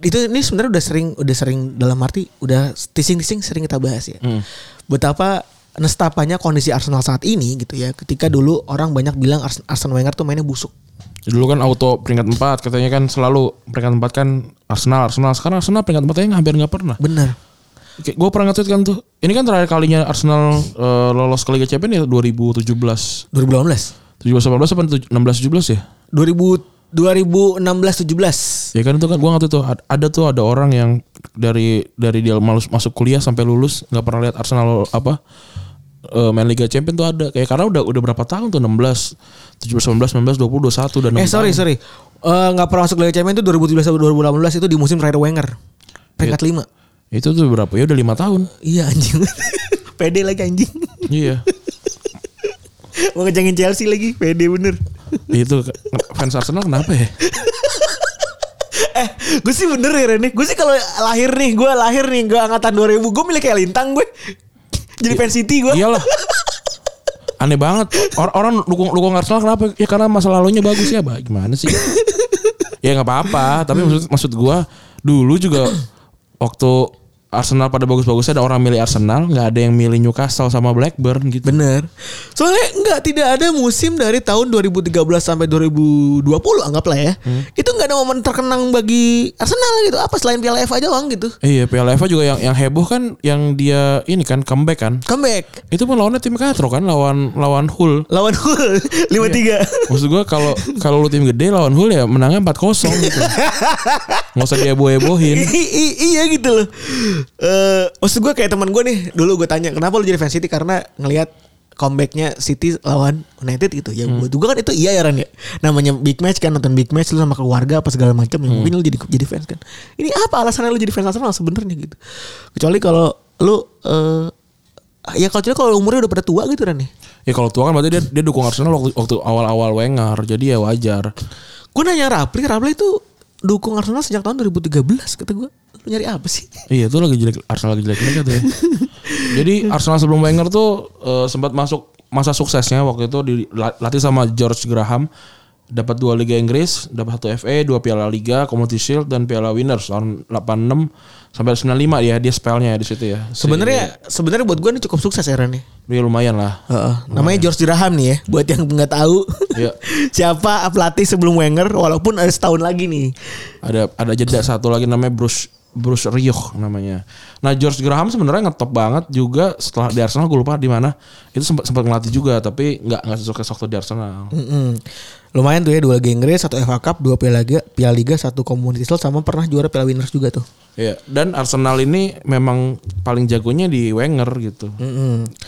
Speaker 2: itu ini sebenarnya udah sering udah sering dalam arti udah teasing-teasing sering kita bahas ya. Betapa nestapanya kondisi Arsenal saat ini gitu ya. Ketika dulu orang banyak bilang Ars- Arsene Wenger tuh mainnya busuk.
Speaker 3: Dulu kan auto peringkat 4 katanya kan selalu peringkat 4 kan Arsenal Arsenal sekarang Arsenal peringkat 4 nya hampir nggak pernah.
Speaker 2: Benar.
Speaker 3: Kayak gue pernah nge-tweet kan tuh. Ini kan terakhir kalinya Arsenal eh, lolos ke Liga Champions ya 2017.
Speaker 2: 2018.
Speaker 3: 17 18 apa 16 17 ya?
Speaker 2: 2000 2016 17.
Speaker 3: Ya kan itu kan gue nggak tahu tuh ad- ada tuh ada orang yang dari dari dia malus masuk kuliah sampai lulus nggak pernah lihat Arsenal apa eh, main Liga Champions tuh ada kayak karena udah udah berapa tahun tuh 16 17 19 20 21 dan
Speaker 2: Eh
Speaker 3: 6
Speaker 2: sorry
Speaker 3: tahun.
Speaker 2: sorry. Eh, nggak pernah masuk Liga Champions itu 2017 sampai 2018 itu di musim terakhir Wenger. Peringkat Iya, 5.
Speaker 3: itu tuh berapa ya udah lima tahun
Speaker 2: Iya anjing. Pede lagi anjing.
Speaker 3: iya
Speaker 2: Mau ngejengin Chelsea lagi, pede bener.
Speaker 3: Itu fans Arsenal kenapa ya?
Speaker 2: eh, gue sih bener ya Rene. Gue sih kalau lahir nih, gue lahir nih, gue angkatan 2000, gue milik kayak lintang gue. Jadi fans City gue.
Speaker 3: Iyalah. Aneh banget. Or- orang dukung dukung Arsenal kenapa? Ya karena masa lalunya bagus ya, Bah. Gimana sih? ya nggak apa-apa, tapi maksud maksud gua dulu juga waktu Arsenal pada bagus-bagusnya ada orang milih Arsenal, nggak ada yang milih Newcastle sama Blackburn gitu.
Speaker 2: Bener. Soalnya nggak tidak ada musim dari tahun 2013 sampai 2020 anggaplah ya. Itu nggak ada momen terkenang bagi Arsenal gitu. Apa selain Piala FA doang gitu.
Speaker 3: Iya, Piala FA juga yang yang heboh kan yang dia ini kan comeback kan.
Speaker 2: Comeback
Speaker 3: Itu pun lawannya tim Katro kan lawan lawan Hull.
Speaker 2: lawan Hull 5-3.
Speaker 3: Maksud gua kalau kalau lu tim gede lawan Hull ya menangnya 4-0 gitu. Nggak usah dia hebohin.
Speaker 2: I- i- iya gitu loh. Eh, maksud gue kayak teman gue nih dulu gue tanya kenapa lu jadi fans City karena ngelihat comebacknya City lawan United gitu ya buat gue kan itu iya ya Ran ya namanya big match kan nonton big match lu sama keluarga apa segala macam ya mungkin lu jadi jadi fans kan ini apa alasannya lu jadi fans Arsenal sebenarnya gitu kecuali kalau lu eh ya kalau kecuali kalau umurnya udah pada tua gitu Ran ya
Speaker 3: Ya kalau tua kan berarti dia dia dukung Arsenal waktu waktu awal-awal Wenger. Jadi ya wajar.
Speaker 2: gue nanya Rapli Rapli itu dukung Arsenal sejak tahun 2013 kata gue lu nyari apa sih
Speaker 3: Iya itu lagi jelek Arsenal lagi jelek banget ya. Jadi Arsenal sebelum Wenger tuh eh, sempat masuk masa suksesnya waktu itu dilatih sama George Graham dapat dua Liga Inggris, dapat satu FA, dua Piala Liga, Community Shield dan Piala Winners tahun 86 sampai 95 ya dia spellnya ya di situ ya. Si-
Speaker 2: sebenarnya Iya. sebenarnya buat gue ini cukup sukses ya Ran ya
Speaker 3: dia lumayan lah.
Speaker 2: Heeh, namanya George Graham nih ya. Buat yang nggak tahu
Speaker 3: Iya.
Speaker 2: siapa pelatih sebelum Wenger, walaupun ada setahun lagi nih.
Speaker 3: Ada ada jeda satu lagi namanya Bruce Bruce Rioch namanya. Nah George Graham sebenarnya ngetop banget juga setelah di Arsenal gue lupa di mana itu sempat sempat ngelatih juga tapi nggak nggak sukses waktu di Arsenal.
Speaker 2: Mm-mm. Lumayan tuh ya dua Liga Inggris, satu FA Cup, dua Piala Liga, Piala Liga, satu Community Shield sama pernah juara Piala Winners juga tuh.
Speaker 3: Iya, dan Arsenal ini memang paling jagonya di Wenger gitu.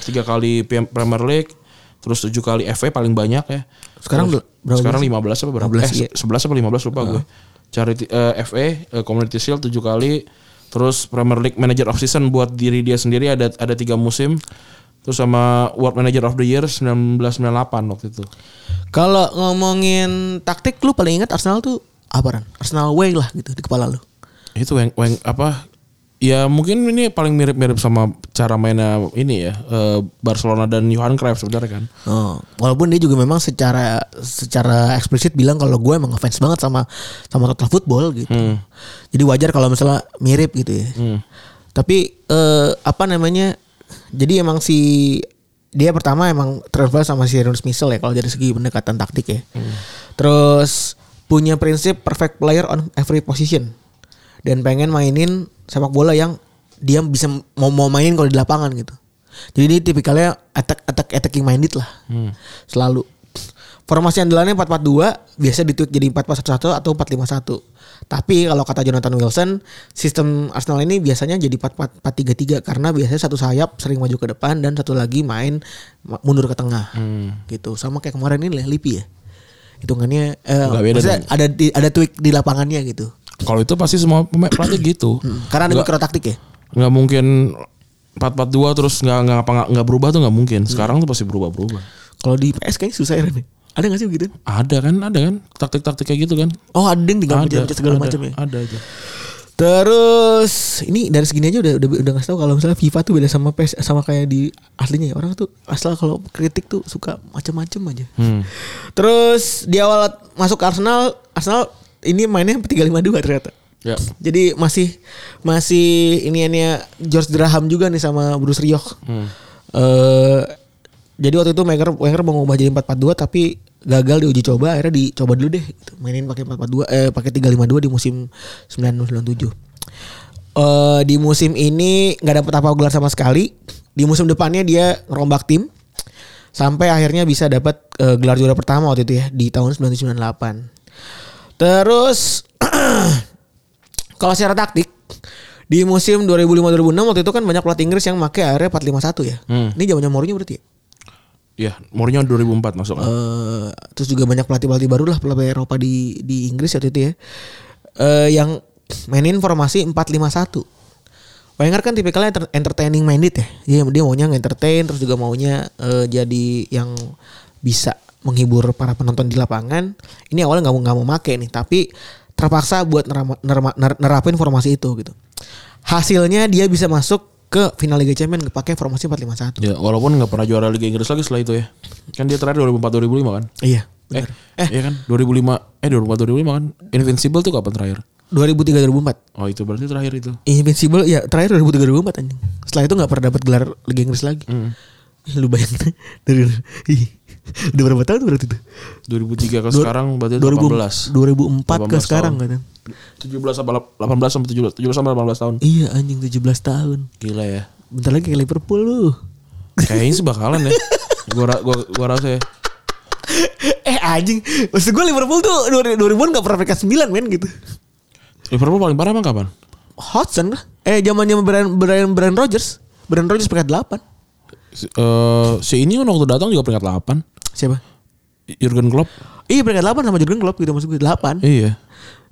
Speaker 3: Tiga kali PM Premier League, terus tujuh kali FA paling banyak ya.
Speaker 2: Oh, Sekarang
Speaker 3: Terus-
Speaker 2: ber- berapa
Speaker 3: Sekarang 15 apa berapa?
Speaker 2: 15,
Speaker 3: eh,
Speaker 2: iya.
Speaker 3: 11 apa 15 lupa gue. Cari ti- eh, FA, eh, Community Shield tujuh kali, terus Premier League Manager of Season buat diri dia sendiri ada ada tiga musim. Terus sama World Manager of the Year 1998 waktu itu.
Speaker 2: Kalau ngomongin taktik lu paling ingat Arsenal tuh apa Ran? Arsenal way lah gitu di kepala lu.
Speaker 3: Itu weng, weng apa? Ya mungkin ini paling mirip-mirip sama cara mainnya ini ya eh, Barcelona dan Johan Cruyff sebenarnya kan.
Speaker 2: Oh, walaupun dia juga memang secara secara eksplisit bilang kalau gue emang ngefans banget sama sama total football gitu. Jadi wajar kalau misalnya mirip gitu ya. Tapi eh, apa namanya? Jadi emang si dia pertama emang travel sama si Rinus Michel ya kalau dari segi pendekatan taktik ya. Terus punya prinsip perfect player on every position dan pengen mainin sepak bola yang dia bisa mau mau mainin kalau di lapangan gitu. Jadi ini tipikalnya attack attack attacking minded lah.
Speaker 3: Hmm.
Speaker 2: Selalu formasi andalannya 4-4-2 biasa ditweak jadi 4-4-1-1 atau 4-5-1. Tapi kalau kata Jonathan Wilson, sistem Arsenal ini biasanya jadi 4-4-4-3-3 karena biasanya satu sayap sering maju ke depan dan satu lagi main ma- mundur ke tengah.
Speaker 3: Hmm.
Speaker 2: Gitu. Sama kayak kemarin ini lah Lippi ya. Hitungannya eh,
Speaker 3: Nggak beda
Speaker 2: maksudnya ada di, ada tweak di lapangannya gitu.
Speaker 3: Kalau itu pasti semua pemain pelatih gitu.
Speaker 2: Karena ada
Speaker 3: Nggak-
Speaker 2: mikro taktik ya.
Speaker 3: nggak mungkin 4-4-2 terus nggak nggak apa nggak- nggak berubah tuh nggak mungkin. Sekarang tuh pasti berubah-berubah.
Speaker 2: Kalau di PS kayaknya susah ya Ren. Ada gak sih begitu?
Speaker 3: Ada kan, ada kan taktik-taktik kayak gitu kan?
Speaker 2: Oh ada yang tinggal
Speaker 3: Ada,
Speaker 2: pencet segala
Speaker 3: ada,
Speaker 2: macam ya.
Speaker 3: Ada aja.
Speaker 2: Terus ini dari segini aja udah udah, udah ngasih tahu kalau misalnya FIFA tuh beda sama PS sama kayak di aslinya ya. Orang tuh asal kalau kritik tuh suka macam-macam aja.
Speaker 3: Hmm.
Speaker 2: Terus di awal masuk ke Arsenal, Arsenal ini mainnya 352 ternyata.
Speaker 3: Ya.
Speaker 2: Jadi masih masih iniannya ya, George Graham juga nih sama Bruce Rioch. Eh, jadi waktu itu Wenger Wenger mau ngubah jadi 442 tapi gagal di uji coba akhirnya dicoba dulu deh gitu. mainin pakai 442 eh pakai 352 di musim 1997. Eh di musim ini nggak dapat apa gelar sama sekali. Di musim depannya dia ngerombak tim sampai akhirnya bisa dapat eh, gelar juara pertama waktu itu ya di tahun 1998. Terus kalau secara taktik di musim 2005-2006 waktu itu kan banyak pelatih Inggris yang pakai area 451 ya. Ini zamannya Mourinho berarti ya.
Speaker 3: Ya, Mourinho 2004 masuk. kan?
Speaker 2: Eh, terus juga banyak pelatih-pelatih baru lah pelatih Eropa di di Inggris waktu itu ya. Eh, yang mainin formasi 451. Wenger kan tipikalnya enter- entertaining minded ya. Dia dia maunya entertain terus juga maunya eh, jadi yang bisa menghibur para penonton di lapangan ini awalnya nggak mau nggak mau make nih tapi terpaksa buat nerama- nerma- ner- nerapin formasi itu gitu hasilnya dia bisa masuk ke final Liga Champions pakai formasi 451
Speaker 3: Ya, walaupun nggak pernah juara Liga Inggris lagi setelah itu ya. Kan dia terakhir 2004 2005 kan?
Speaker 2: iya
Speaker 3: Eh,
Speaker 2: benar
Speaker 3: eh, iya kan? 2005 eh 2004 2005 kan? Invincible tuh kapan terakhir?
Speaker 2: 2003 2004
Speaker 3: Oh, itu berarti terakhir itu.
Speaker 2: Invincible ya terakhir 2003 2004 anjing. Setelah itu nggak pernah dapat gelar Liga Inggris lagi.
Speaker 3: Hmm.
Speaker 2: Lu bayangin dari ih, udah berapa tahun berarti itu?
Speaker 3: 2003 ke
Speaker 2: Dua-
Speaker 3: sekarang berarti
Speaker 2: 2000 2004
Speaker 3: 18.
Speaker 2: ke
Speaker 3: 18
Speaker 2: sekarang kan.
Speaker 3: tahun. 17 sampai 18 sampai 17, 17 sampai 18 tahun.
Speaker 2: Iya anjing 17 tahun.
Speaker 3: Gila ya.
Speaker 2: Bentar lagi ke Liverpool lu.
Speaker 3: Kayaknya sih bakalan ya. Gua ra- gua gua rasa ya.
Speaker 2: eh anjing, maksud gue Liverpool tuh 2000-an gak pernah peringkat 9 men gitu.
Speaker 3: Liverpool paling parah emang kapan?
Speaker 2: Hodgson lah. Eh zamannya Brian Brian Brian Rodgers. Brian Rodgers peringkat 8.
Speaker 3: Si, eh, si ini kan waktu datang juga peringkat 8.
Speaker 2: Siapa?
Speaker 3: Jurgen Klopp.
Speaker 2: Iya peringkat 8 sama Jurgen Klopp gitu maksud gue 8.
Speaker 3: Iya.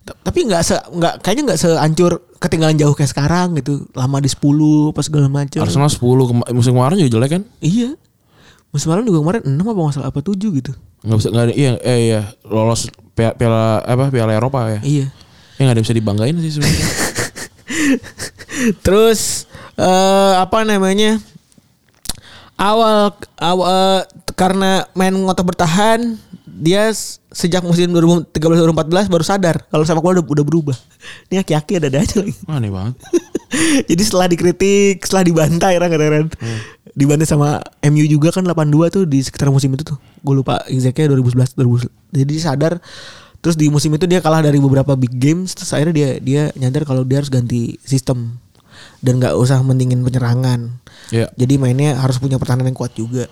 Speaker 2: Ta- tapi nggak se nggak kayaknya nggak seancur ketinggalan jauh kayak sekarang gitu lama di 10 pas segala macam
Speaker 3: Arsenal 10 kema- musim kemarin juga jelek kan?
Speaker 2: iya musim malam juga kemarin 6 apa nggak salah apa 7 gitu
Speaker 3: Enggak bisa enggak iya eh iya lolos pia- piala apa piala Eropa ya.
Speaker 2: iya
Speaker 3: Ya enggak ada yang bisa dibanggain sih sebenarnya.
Speaker 2: terus eh, apa namanya awal awal eh, karena main ngotot bertahan dia s- sejak musim 2013-2014 baru sadar kalau sepak bola udah, udah berubah ini aki-aki ada-ada aja lagi
Speaker 3: Aneh banget.
Speaker 2: Jadi setelah dikritik, setelah dibantai orang kadang Dibantai sama MU juga kan 82 tuh di sekitar musim itu tuh. Gue lupa exactnya 2011 2000. Jadi sadar terus di musim itu dia kalah dari beberapa big games terus akhirnya dia dia nyadar kalau dia harus ganti sistem dan nggak usah mendingin penyerangan.
Speaker 3: Iya.
Speaker 2: Jadi mainnya harus punya pertahanan yang kuat juga.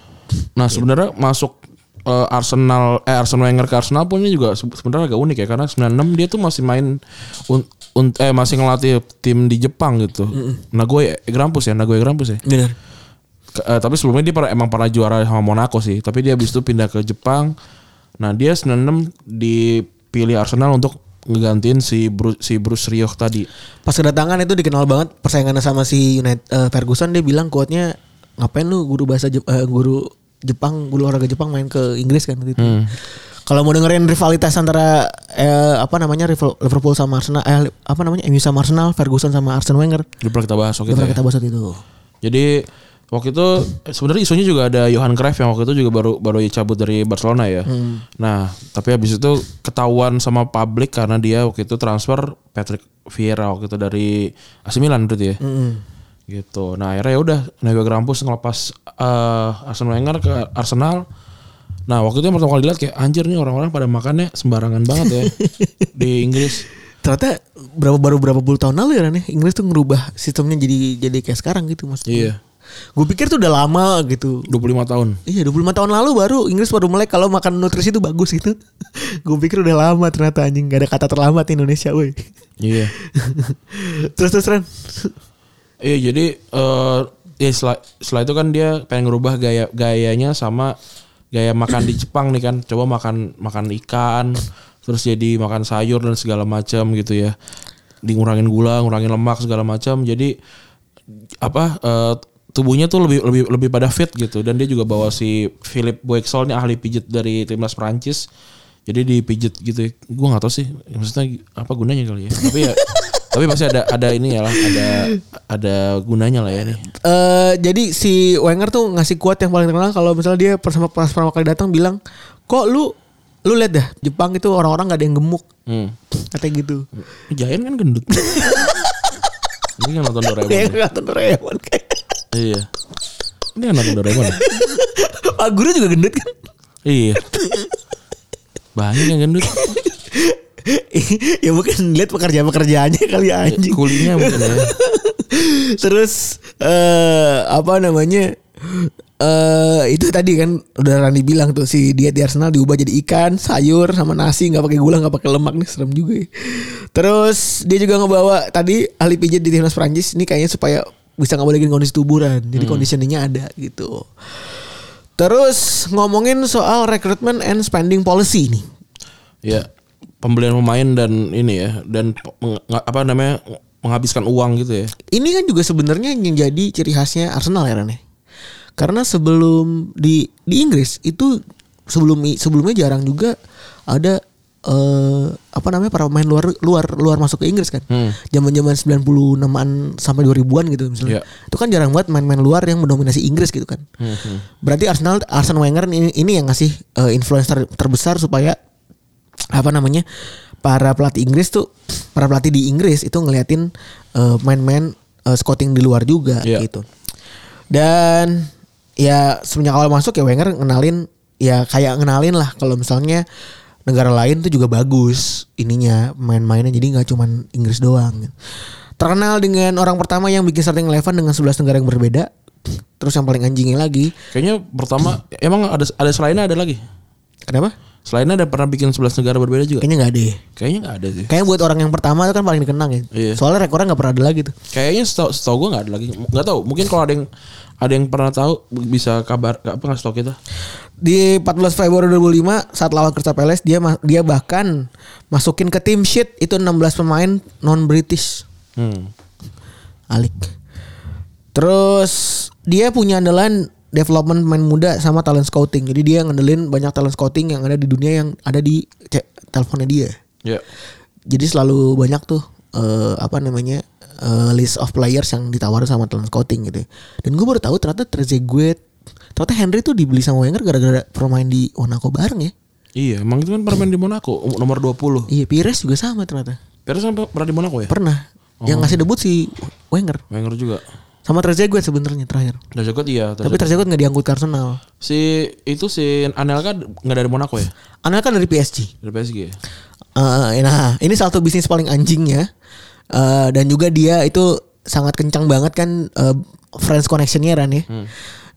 Speaker 3: Nah, sebenarnya masuk eh, Arsenal eh Arsenal Wenger ke Arsenal pun ini juga se- sebenarnya agak unik ya karena 96 dia tuh masih main un, un- eh masih ngelatih tim di Jepang gitu. Nagoya Grampus ya, Nagoya Grampus ya.
Speaker 2: Benar.
Speaker 3: Ke- eh, tapi sebelumnya dia pernah, emang pernah juara sama Monaco sih. Tapi dia habis itu pindah ke Jepang. Nah dia 96 dipilih Arsenal untuk ngegantiin si Bruce, si Bruce Rioch tadi.
Speaker 2: Pas kedatangan itu dikenal banget persaingannya sama si United eh, Ferguson dia bilang quote-nya ngapain lu guru bahasa Jep- eh, guru Jepang guru olahraga Jepang main ke Inggris kan gitu.
Speaker 3: Hmm.
Speaker 2: Kalau mau dengerin rivalitas antara eh, apa namanya rival- Liverpool sama Arsenal eh, li- apa namanya MU sama Arsenal, Ferguson sama Arsene Wenger.
Speaker 3: Udah pernah kita bahas waktu
Speaker 2: Udah
Speaker 3: itu.
Speaker 2: pernah
Speaker 3: ya.
Speaker 2: kita bahas waktu itu.
Speaker 3: Jadi waktu itu eh, sebenarnya isunya juga ada Johan Cruyff yang waktu itu juga baru baru cabut dari Barcelona ya. Nah tapi habis itu ketahuan sama publik karena dia waktu itu transfer Patrick Vieira waktu itu dari AC Milan berarti ya. Gitu. Nah akhirnya ya udah Naga Grampus ngelepas eh, Arsenal Wenger ke Arsenal. Nah waktu itu yang pertama kali dilihat kayak anjir nih orang-orang pada makannya sembarangan banget ya di Inggris.
Speaker 2: Ternyata berapa baru berapa puluh tahun lalu ya Ran, ya, Inggris tuh ngerubah sistemnya jadi jadi kayak sekarang gitu maksudnya.
Speaker 3: Iya.
Speaker 2: Gue pikir tuh udah lama gitu.
Speaker 3: 25 tahun.
Speaker 2: Iya 25 tahun lalu baru Inggris baru mulai kalau makan nutrisi itu bagus gitu. Gue pikir udah lama ternyata anjing gak ada kata terlambat di Indonesia woi.
Speaker 3: Iya.
Speaker 2: terus terus Ren.
Speaker 3: Iya jadi eh ya setelah, setelah itu kan dia pengen ngerubah gaya gayanya sama gaya makan di Jepang nih kan. Coba makan makan ikan, terus jadi makan sayur dan segala macam gitu ya. Dingurangin gula, ngurangin lemak segala macam. Jadi apa eh, tubuhnya tuh lebih lebih lebih pada fit gitu dan dia juga bawa si Philip Boexel nih ahli pijit dari timnas Prancis jadi dipijit gitu ya. gue nggak tahu sih maksudnya apa gunanya kali ya tapi ya tapi pasti ada ada ini ya lah ada ada gunanya lah ya nih
Speaker 2: Eh, jadi si Wenger tuh ngasih kuat yang paling terkenal kalau misalnya dia pertama pas pertama kali datang bilang kok lu lu lihat dah Jepang itu orang-orang gak ada yang gemuk
Speaker 3: hmm.
Speaker 2: katanya gitu.
Speaker 3: Giant kan gendut ini kan nonton Doraemon
Speaker 2: Dia
Speaker 3: ya?
Speaker 2: Iya, kelihatan Doraemon kayak.
Speaker 3: iya ini kan nonton Doraemon ya?
Speaker 2: Pak guru juga gendut kan.
Speaker 3: iya banyak yang gendut
Speaker 2: ya mungkin lihat pekerjaan-pekerjaannya kali ya, anjing.
Speaker 3: kulinya mungkin ya
Speaker 2: Terus eh apa namanya? Eh itu tadi kan udah Rani bilang tuh si diet di Arsenal diubah jadi ikan, sayur sama nasi nggak pakai gula nggak pakai lemak nih serem juga. Ya. Terus dia juga ngebawa tadi ahli pijat di timnas Prancis ini kayaknya supaya bisa nggak kondisi tuburan. Jadi conditioningnya ada gitu. Terus ngomongin soal recruitment and spending policy nih.
Speaker 3: Ya, pembelian pemain dan ini ya, dan pe- meng- apa namanya menghabiskan uang gitu ya.
Speaker 2: ini kan juga sebenarnya yang jadi ya? ciri khasnya Arsenal ya Rane. Karena sebelum di di Inggris itu sebelum sebelumnya jarang juga ada eh apa namanya para pemain luar luar luar masuk ke Inggris kan. Zaman-zaman 96-an sampai 2000-an gitu misalnya.
Speaker 3: Iya.
Speaker 2: Itu kan jarang banget main-main luar yang mendominasi Inggris gitu kan. Berarti Arsenal Arsene Wenger ini, ini yang ngasih eh, influencer terbesar supaya apa namanya? para pelatih Inggris tuh para pelatih di Inggris itu ngeliatin eh, main-main eh, scouting di luar juga
Speaker 3: Iya.
Speaker 2: gitu. Dan ya semenjak awal masuk ya Wenger ngenalin ya kayak ngenalin lah kalau misalnya negara lain tuh juga bagus ininya main-mainnya jadi nggak cuman Inggris doang. Terkenal dengan orang pertama yang bikin starting eleven dengan 11 negara yang berbeda. Terus yang paling anjingnya lagi,
Speaker 3: Kayaknya pertama emang ada ada selainnya ada lagi.
Speaker 2: kenapa?
Speaker 3: Selainnya ada pernah bikin 11 negara berbeda juga.
Speaker 2: Kayaknya nggak deh.
Speaker 3: Kayaknya nggak ada sih.
Speaker 2: Kayaknya buat orang yang pertama itu kan paling dikenang ya.
Speaker 3: Iya.
Speaker 2: Soalnya rekornya nggak pernah ada lagi tuh.
Speaker 3: Kayaknya setau, setau gue nggak ada lagi. Nggak tahu. Mungkin kalau ada yang ada yang pernah tahu bisa kabar apa ngasih tau kita.
Speaker 2: di 14 Februari 2005 saat lawan Crystal Palace dia ma- dia bahkan masukin ke tim sheet itu 16 pemain non British
Speaker 3: Hmm.
Speaker 2: alik terus dia punya andalan development pemain muda sama talent scouting jadi dia ngandelin banyak talent scouting yang ada di dunia yang ada di ce- teleponnya dia
Speaker 3: Ya.
Speaker 2: jadi selalu banyak tuh eh, apa namanya eh, list of players yang ditawarin sama talent scouting gitu ya. dan gue baru tahu ternyata Trezeguet ternyata Henry tuh dibeli sama Wenger gara-gara bermain di Monaco bareng ya
Speaker 3: Iya, emang itu kan pernah main di Monaco um- nomor 20.
Speaker 2: Iya, Pires juga sama ternyata.
Speaker 3: Terus sampai pernah di Monaco ya?
Speaker 2: Pernah. Yang ngasih debut si Wenger.
Speaker 3: Wenger juga.
Speaker 2: Sama Trezeguet sebenarnya terakhir.
Speaker 3: Trezeguet iya.
Speaker 2: Tapi
Speaker 3: Trezeguet.
Speaker 2: Trezeguet nggak diangkut ke Arsenal.
Speaker 3: Si itu si Anelka nggak dari Monaco ya?
Speaker 2: Anel kan dari PSG.
Speaker 3: Dari PSG. ya?
Speaker 2: Eh, nah, ini salah satu bisnis paling anjingnya. Eh, dan juga dia itu sangat kencang banget kan eh, friends connectionnya Ran ya.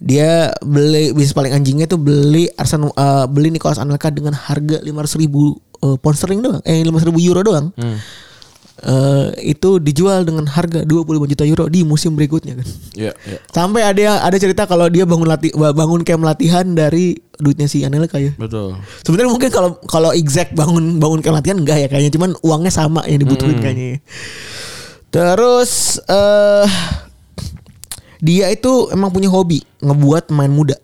Speaker 2: Dia beli bisnis paling anjingnya itu beli Arsenal eh, beli Nicolas Anelka dengan harga 500 ribu pound sterling doang, eh 500 ribu euro doang. Eh, itu dijual dengan harga 25 juta euro di musim berikutnya kan.
Speaker 3: Iya, iya.
Speaker 2: Sampai ada yang- ada cerita kalau dia bangun lati bangun camp latihan dari duitnya si Anelka ya.
Speaker 3: Betul.
Speaker 2: Sebenarnya mungkin kalau kalau exact bangun bangun camp latihan enggak ya kayaknya cuman uangnya sama yang dibutuhin kayaknya. ya. Terus eh dia itu emang punya hobi ngebuat main muda.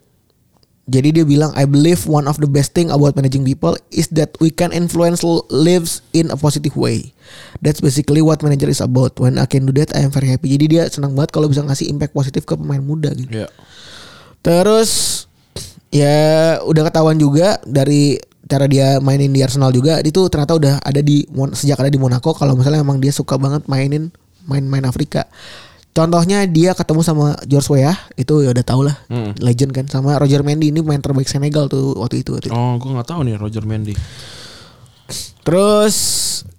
Speaker 2: Jadi dia bilang I believe one of the best thing about managing people is that we can influence l- lives in a positive way. That's basically what manager is about. When I can do that, I am very happy. Jadi dia senang banget kalau bisa ngasih impact positif ke pemain muda gitu.
Speaker 3: Iya.
Speaker 2: Terus ya udah ketahuan juga dari cara dia mainin di Arsenal juga itu ternyata udah ada di Mon- sejak ada di Monaco kalau misalnya emang dia suka banget mainin main-main Afrika. Contohnya dia ketemu sama George Weah itu ya udah tau lah legend kan sama Roger Mendy ini pemain terbaik Senegal tuh waktu itu. Waktu itu.
Speaker 3: Oh, gue nggak tahu nih Roger Mendy.
Speaker 2: Terus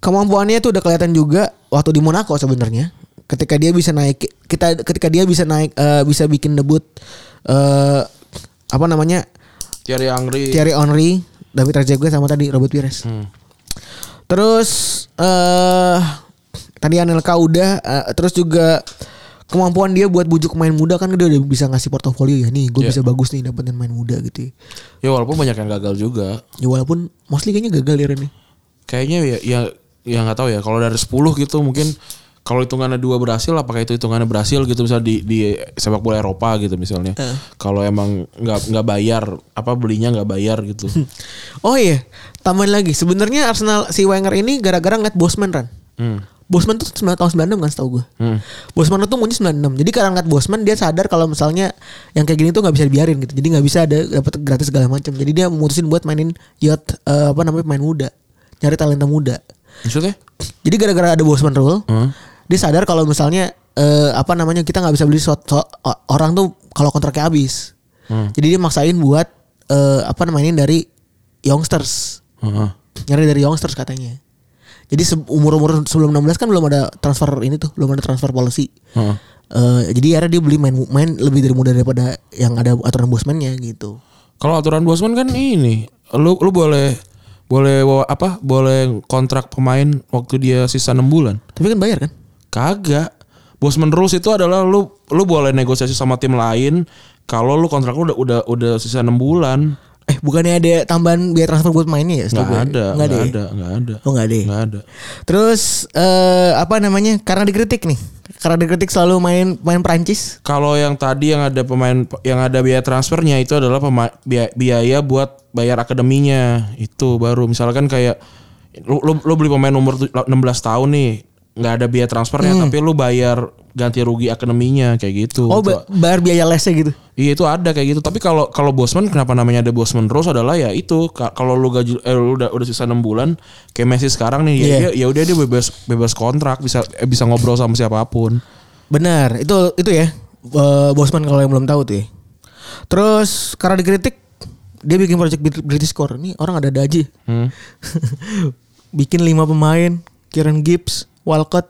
Speaker 2: kemampuannya tuh udah kelihatan juga waktu di Monaco sebenarnya. Ketika dia bisa naik kita ketika dia bisa naik eh, bisa bikin debut eh apa namanya
Speaker 3: Thierry Angri.
Speaker 2: Thierry Henry, David Trezeguet sama tadi Robert Pires.
Speaker 3: Hmm.
Speaker 2: Terus eh tadi Anelka udah eh, terus juga kemampuan dia buat bujuk main muda kan dia udah bisa ngasih portofolio ya nih gue bisa bagus nih dapetin main muda gitu ya.
Speaker 3: Ya walaupun banyak yang gagal juga.
Speaker 2: ya walaupun mostly kayaknya gagal ya Ren.
Speaker 3: Kayaknya ya ya ya nggak tahu ya. Kalau dari 10 gitu mungkin kalau hitungannya dua berhasil apakah itu hitungannya berhasil gitu misalnya di di sepak bola Eropa gitu misalnya. Kalau emang nggak nggak bayar apa belinya nggak bayar gitu.
Speaker 2: Oh iya tambahin lagi sebenarnya Arsenal si Wenger ini gara-gara ngeliat Bosman Ran
Speaker 3: Hmm.
Speaker 2: Bosman tuh 9 tahun 96 kan setahu gue. Bosman tuh muncul 96. Jadi karena ngeliat Bosman dia sadar kalau misalnya yang kayak gini tuh nggak bisa dibiarin gitu. Jadi nggak bisa ada dapat gratis segala macam. Jadi dia memutusin buat mainin yacht eh, apa namanya pemain muda, nyari talenta muda.
Speaker 3: Maksudnya?
Speaker 2: Jadi gara-gara ada Bosman rule,
Speaker 3: Hmm.
Speaker 2: dia sadar kalau misalnya eh, apa namanya kita nggak bisa beli suat- suat- o- orang tuh kalau kontraknya habis. Jadi dia maksain buat eh, apa namanya dari youngsters
Speaker 3: Heeh.
Speaker 2: nyari dari youngsters katanya. Jadi se- umur-umur sebelum 16 kan belum ada transfer ini tuh, belum ada transfer policy.
Speaker 3: Heeh.
Speaker 2: Eh, jadi akhirnya dia beli main main lebih dari muda daripada yang ada aturan bosmannya gitu.
Speaker 3: Kalau aturan Bosman kan ini, lu lu boleh boleh wa- apa? Boleh kontrak pemain waktu dia sisa 6 bulan.
Speaker 2: Tapi kan bayar kan?
Speaker 3: Kagak. Bosman rules itu adalah lu lu boleh negosiasi sama tim lain kalau lu kontrak lu udah udah udah sisa 6 bulan.
Speaker 2: Eh bukannya ada tambahan biaya transfer buat mainnya ya? setahu
Speaker 3: Nggak
Speaker 2: gue?
Speaker 3: ada,
Speaker 2: Nggak ada.
Speaker 3: nggak
Speaker 2: ya?
Speaker 3: ada, nggak ada.
Speaker 2: Oh nggak ada. ya?
Speaker 3: Nggak ada.
Speaker 2: Terus eh apa namanya? Karena dikritik nih. Karena dikritik selalu main main Prancis.
Speaker 3: Kalau yang tadi yang ada pemain yang ada biaya transfernya itu adalah pema- bia- biaya buat bayar akademinya itu baru misalkan kayak lu, lu, lu beli pemain umur tu- 16 tahun nih nggak ada biaya transfernya
Speaker 2: Hmm.
Speaker 3: tapi lu bayar ganti rugi akademinya kayak gitu.
Speaker 2: Oh,
Speaker 3: Itu-
Speaker 2: ba- bayar biaya lesnya gitu.
Speaker 3: Iya itu ada kayak gitu. Tapi kalau kalau Bosman kenapa namanya ada Bosman Rose adalah ya itu Ka- kalau lu gaji eh, lu udah udah sisa 6 bulan kayak Messi sekarang nih ya
Speaker 2: Iya.
Speaker 3: dia- ya udah dia bebas bebas kontrak bisa eh, bisa ngobrol sama siapapun.
Speaker 2: Benar, itu itu ya. eh, Bosman kalau yang belum tahu tuh. Ya. Terus karena dikritik dia bikin project Brit- British Core. Nih orang ada ada aja. bikin lima pemain, Kieran Gibbs, Walcott,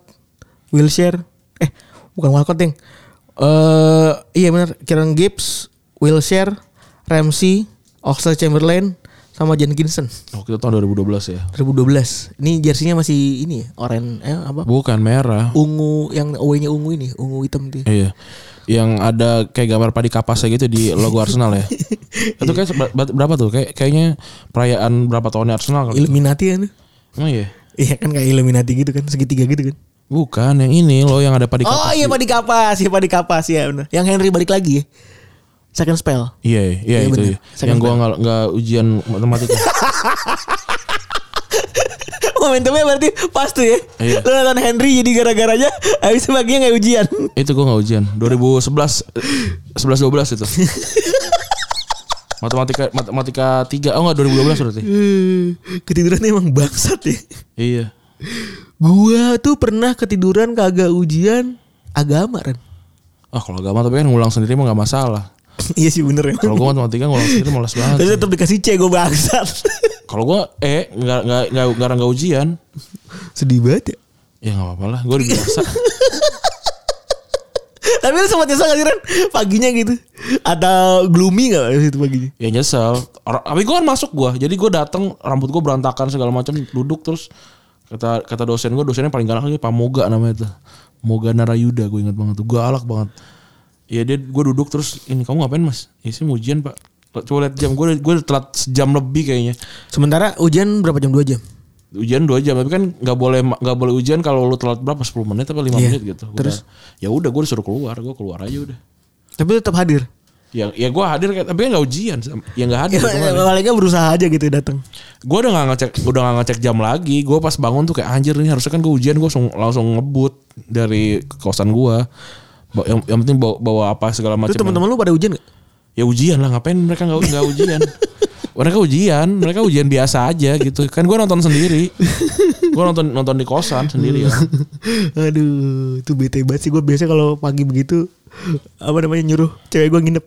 Speaker 2: Wilshere. Eh, bukan Walcott, Ding. Eh, iya benar, Kieran Gibbs, Wilshere, Ramsey, Oxlade Chamberlain sama Jenkinson
Speaker 3: Waktu itu Oh, tahun 2012 ya.
Speaker 2: 2012. Ini jersinya masih ini ya, oranye eh, apa?
Speaker 3: Bukan merah.
Speaker 2: Ungu yang away-nya ungu ini, ungu hitam tuh. ya.
Speaker 3: Iya. Yang ada kayak gambar padi kapasnya gitu di logo Arsenal ya. itu kayak seba- berapa tuh? Kayak kayaknya perayaan berapa tahunnya Arsenal kali.
Speaker 2: Illuminati kan?
Speaker 3: Emang iya?
Speaker 2: Iya kan kayak Illuminati gitu kan, segitiga gitu kan.
Speaker 3: Bukan yang ini loh yang ada padi
Speaker 2: oh
Speaker 3: kapas.
Speaker 2: iya Pak di kapas, iya Pak di kapas ya benar. Yang Henry balik lagi ya. Second spell.
Speaker 3: Iya, iya,
Speaker 2: Iya,
Speaker 3: itu.
Speaker 2: bener.
Speaker 3: iya.
Speaker 2: Second
Speaker 3: Yang gua nggak nggak ujian matematika.
Speaker 2: Momentumnya berarti pas tuh ya.
Speaker 3: Iya.
Speaker 2: Lu nonton Henry jadi gara-garanya habis itu baginya nggak ujian.
Speaker 3: itu gue nggak ujian 2011 11 12 itu matematika matematika 3 oh enggak 2012 berarti
Speaker 2: Eh, Ketiduran emang bangsat ya.
Speaker 3: iya
Speaker 2: Gua tuh pernah ketiduran kagak ujian agama kan.
Speaker 3: ah kalau agama tapi kan ngulang sendiri mah nggak masalah
Speaker 2: iya sih bener ya.
Speaker 3: kalau gue matematika ngulang sendiri malas banget
Speaker 2: Tapi tetap dikasih C gue bangsat.
Speaker 3: kalau gue eh nggak nggak nggak nggak nggak ujian
Speaker 2: Sedih banget ya.
Speaker 3: ya nggak apa-apa lah gue biasa
Speaker 2: Tapi lu sempat nyesel gak sih Ren? Paginya gitu. Atau gloomy gak itu paginya?
Speaker 3: ya nyesel Or- tapi gue kan masuk gue jadi gue datang rambut gue berantakan segala macam duduk terus kata kata dosen gue dosennya paling galak lagi Pamoga namanya itu Moga Narayuda gue ingat banget tuh galak banget ya dia gue duduk terus ini kamu ngapain mas ya sih mau ujian pak coba lihat jam gue gue telat sejam lebih kayaknya
Speaker 2: Sementara hujan berapa jam? Dua jam.
Speaker 3: ujian dua jam tapi kan nggak boleh nggak boleh ujian kalau lu telat berapa 10 menit atau 5
Speaker 2: Iya.
Speaker 3: menit gitu Gua
Speaker 2: Terus?
Speaker 3: bilang, ya udah gue disuruh keluar gue keluar aja udah
Speaker 2: Tapi tetap hadir.
Speaker 3: ya ya gue hadir kayak- tapi kan nggak ujian ya nggak
Speaker 2: Iya,
Speaker 3: hadir hitungannya.
Speaker 2: Malingnya berusaha aja gitu datang.
Speaker 3: gue udah nggak ngecek udah nggak ngecek jam lagi gue pas bangun tuh kayak anjir ini harusnya kan gue ujian gue langsung, langsung ngebut dari kosan gue yang, yang penting bawa, bawa apa segala
Speaker 2: Itu
Speaker 3: macam
Speaker 2: teman-teman lu pada hujan gak?
Speaker 3: ya ujian lah ngapain mereka nggak nggak ujian mereka ujian mereka ujian biasa aja gitu kan gue nonton sendiri gue nonton nonton di kosan sendiri ya.
Speaker 2: Aduh, itu bete banget sih gue biasanya kalau pagi begitu apa namanya nyuruh cewek gue nginep.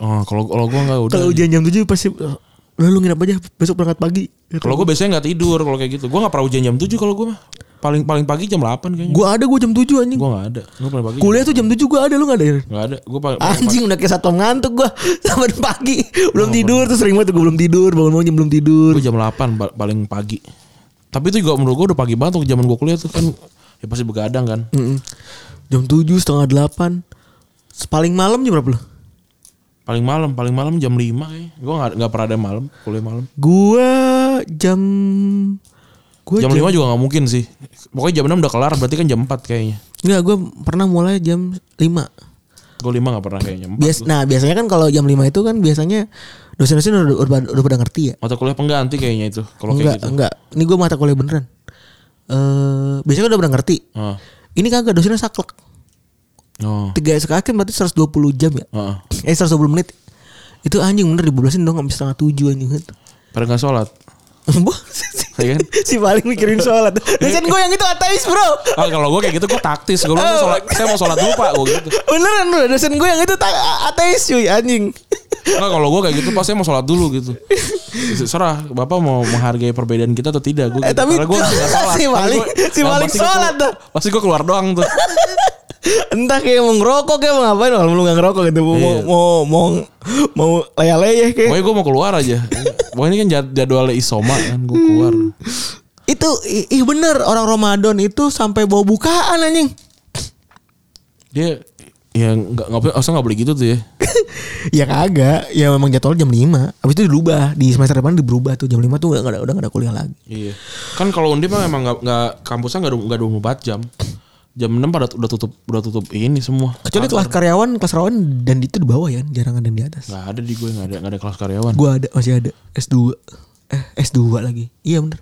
Speaker 3: oh kalau kalau gue nggak udah
Speaker 2: Kalau hujan jam 7 pasti "Oh, udah lu nginep aja besok berangkat pagi.
Speaker 3: kalau gue biasanya nggak tidur kalau kayak gitu gue nggak pernah ujian jam 7 kalau gue mah paling paling pagi jam 8 kayaknya
Speaker 2: Gua ada gue jam 7 anjing.
Speaker 3: gue nggak ada gue paling pagi
Speaker 2: Kuliah Ah, tuh jam 7 gue ada lu gak ada. Ren?
Speaker 3: nggak ada gue paling
Speaker 2: Anjing udah kayak satpam ngantuk gue Sampai pagi Oh, iya. Belum tidur Terus sering banget gue belum tidur Bangun-bangun jam belum tidur
Speaker 3: Gue jam 8 ba- paling pagi. Tapi itu juga menurut gue udah pagi banget waktu zaman gue kuliah tuh kan ya pasti begadang kan.
Speaker 2: Mm-mm. Jam 7 setengah 8 Paling malam jam berapa lu?
Speaker 3: Paling malam, paling malam jam 5 kayaknya. Gue gak, pernah ada malam, kuliah malam.
Speaker 2: Gua jam gua
Speaker 3: Jam 5 juga gak mungkin sih. Pokoknya jam 6 udah kelar berarti kan jam 4 kayaknya.
Speaker 2: Enggak gue pernah mulai jam 5
Speaker 3: Gue 5 gak pernah kayaknya. Empat
Speaker 2: Bias, Nah biasanya kan kalau jam 5 itu kan biasanya Dosen-dosen udah, udah, udah, udah pada ngerti ya
Speaker 3: Mata kuliah pengganti kayaknya itu. Kalau
Speaker 2: Enggak
Speaker 3: kayak gitu.
Speaker 2: enggak Ini gue mata kuliah beneran eh Biasanya udah pada ngerti
Speaker 3: Heeh.
Speaker 2: Ini kagak dosennya saklek
Speaker 3: Ah. Oh. ah,
Speaker 2: Tiga sekali kan berarti 120 jam ya
Speaker 3: Heeh.
Speaker 2: Eh 120 menit Itu anjing bener diboblosin dong Sampai setengah tujuh anjing
Speaker 3: Pada gak sholat.
Speaker 2: Boh,
Speaker 3: Iya kan? Iya.
Speaker 2: si paling mikirin sholat Dosen gue yang itu ateis bro
Speaker 3: Ah, kalau gue kayak gitu gue taktis. Gue bilang sholat, saya mau sholat dulu pak. Gue gitu.
Speaker 2: Beneran bro Dosen gue yang itu ta- ateis cuy anjing
Speaker 3: Enggak kalau gue kayak gitu pas saya mau sholat dulu gitu. Serah bapak mau menghargai perbedaan kita atau tidak gue.
Speaker 2: Eh, tapi
Speaker 3: gue nggak sholat.
Speaker 2: si
Speaker 3: Tapi
Speaker 2: maling-
Speaker 3: gua-
Speaker 2: si
Speaker 3: oh,
Speaker 2: maling
Speaker 3: pasti gua
Speaker 2: sholat
Speaker 3: keluar- Pasti gue keluar doang tuh.
Speaker 2: Entah kayak mau ngerokok kayak mau ngapain Kalau lu gak ngerokok gitu Mau
Speaker 3: Iya.
Speaker 2: mau mau, mau leyeh-leyeh kayak
Speaker 3: Pokoknya gue mau keluar aja. Pokoknya ini kan jad- jadwalnya isoma kan gue keluar.
Speaker 2: Itu i- ih bener Orang Ramadan itu sampai bawa bukaan anjing
Speaker 3: Dia
Speaker 5: Ya nggak nggak boleh- asal nggak boleh gitu tuh ya.
Speaker 2: ya kagak. Ya memang jadwal jam 5. Habis itu dirubah. Di semester depan diberubah tuh jam 5 tuh udah enggak ada udah nggak ada kuliah lagi.
Speaker 5: Iya. Kan kalau Undip mah emang nggak nggak kampusnya nggak dua- nggak 24 jam. Jam 6 pada udah tutup udah tutup ini semua.
Speaker 2: Kecuali kelas karyawan, kelas karyawan dan itu di bawah ya, jarang ada yang di atas.
Speaker 5: Nggak ada di gue nggak ada nggak ada kelas karyawan.
Speaker 2: Gua ada masih ada S2. Eh, S2 lagi. Iya bener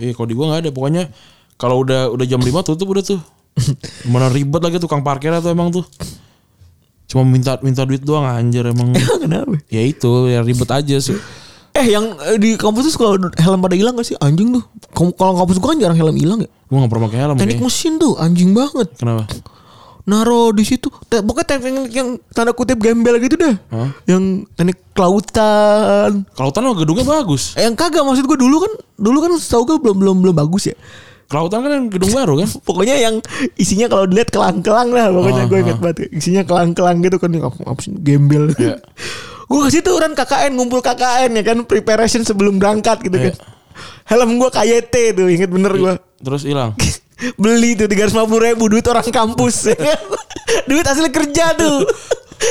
Speaker 5: Iya kalau di gue nggak ada. Pokoknya kalau udah udah jam 5 tutup udah tuh. Mana ribet lagi tukang parkirnya tuh emang tuh. Cuma minta minta duit doang anjir emang.
Speaker 2: Kenapa?
Speaker 5: ya itu ya ribet aja sih.
Speaker 2: Eh yang eh, di kampus tuh suka helm pada hilang gak sih? Anjing tuh. Kom- Kalau kampus gua kan jarang helm hilang ya.
Speaker 5: Gue nggak pernah pakai helm.
Speaker 2: Teknik
Speaker 5: kayaknya.
Speaker 2: mesin tuh anjing banget.
Speaker 5: Kenapa?
Speaker 2: Naro di situ. Te- Pokoknya teknik yang tanda kutip gembel gitu dah.
Speaker 5: Hah?
Speaker 2: Yang teknik kelautan.
Speaker 5: Kelautan mah gedungnya bagus.
Speaker 2: Eh, Yang kagak maksud gue dulu kan dulu kan setahu gue belum belum belum bagus ya.
Speaker 5: Kelautan kan yang gedung baru kan.
Speaker 2: Pokoknya yang isinya kalau dilihat kelang-kelang lah pokoknya
Speaker 5: Ah,
Speaker 2: gue inget banget isinya kelang-kelang gitu kan apa, apa sih gembel.
Speaker 5: Iya.
Speaker 2: gue ke situ orang KKN ngumpul KKN ya kan preparation sebelum berangkat gitu kan. Helm gue KYT tuh inget bener gue.
Speaker 5: Terus hilang.
Speaker 2: beli tuh 350 ribu duit orang kampus ya kan? duit hasil kerja tuh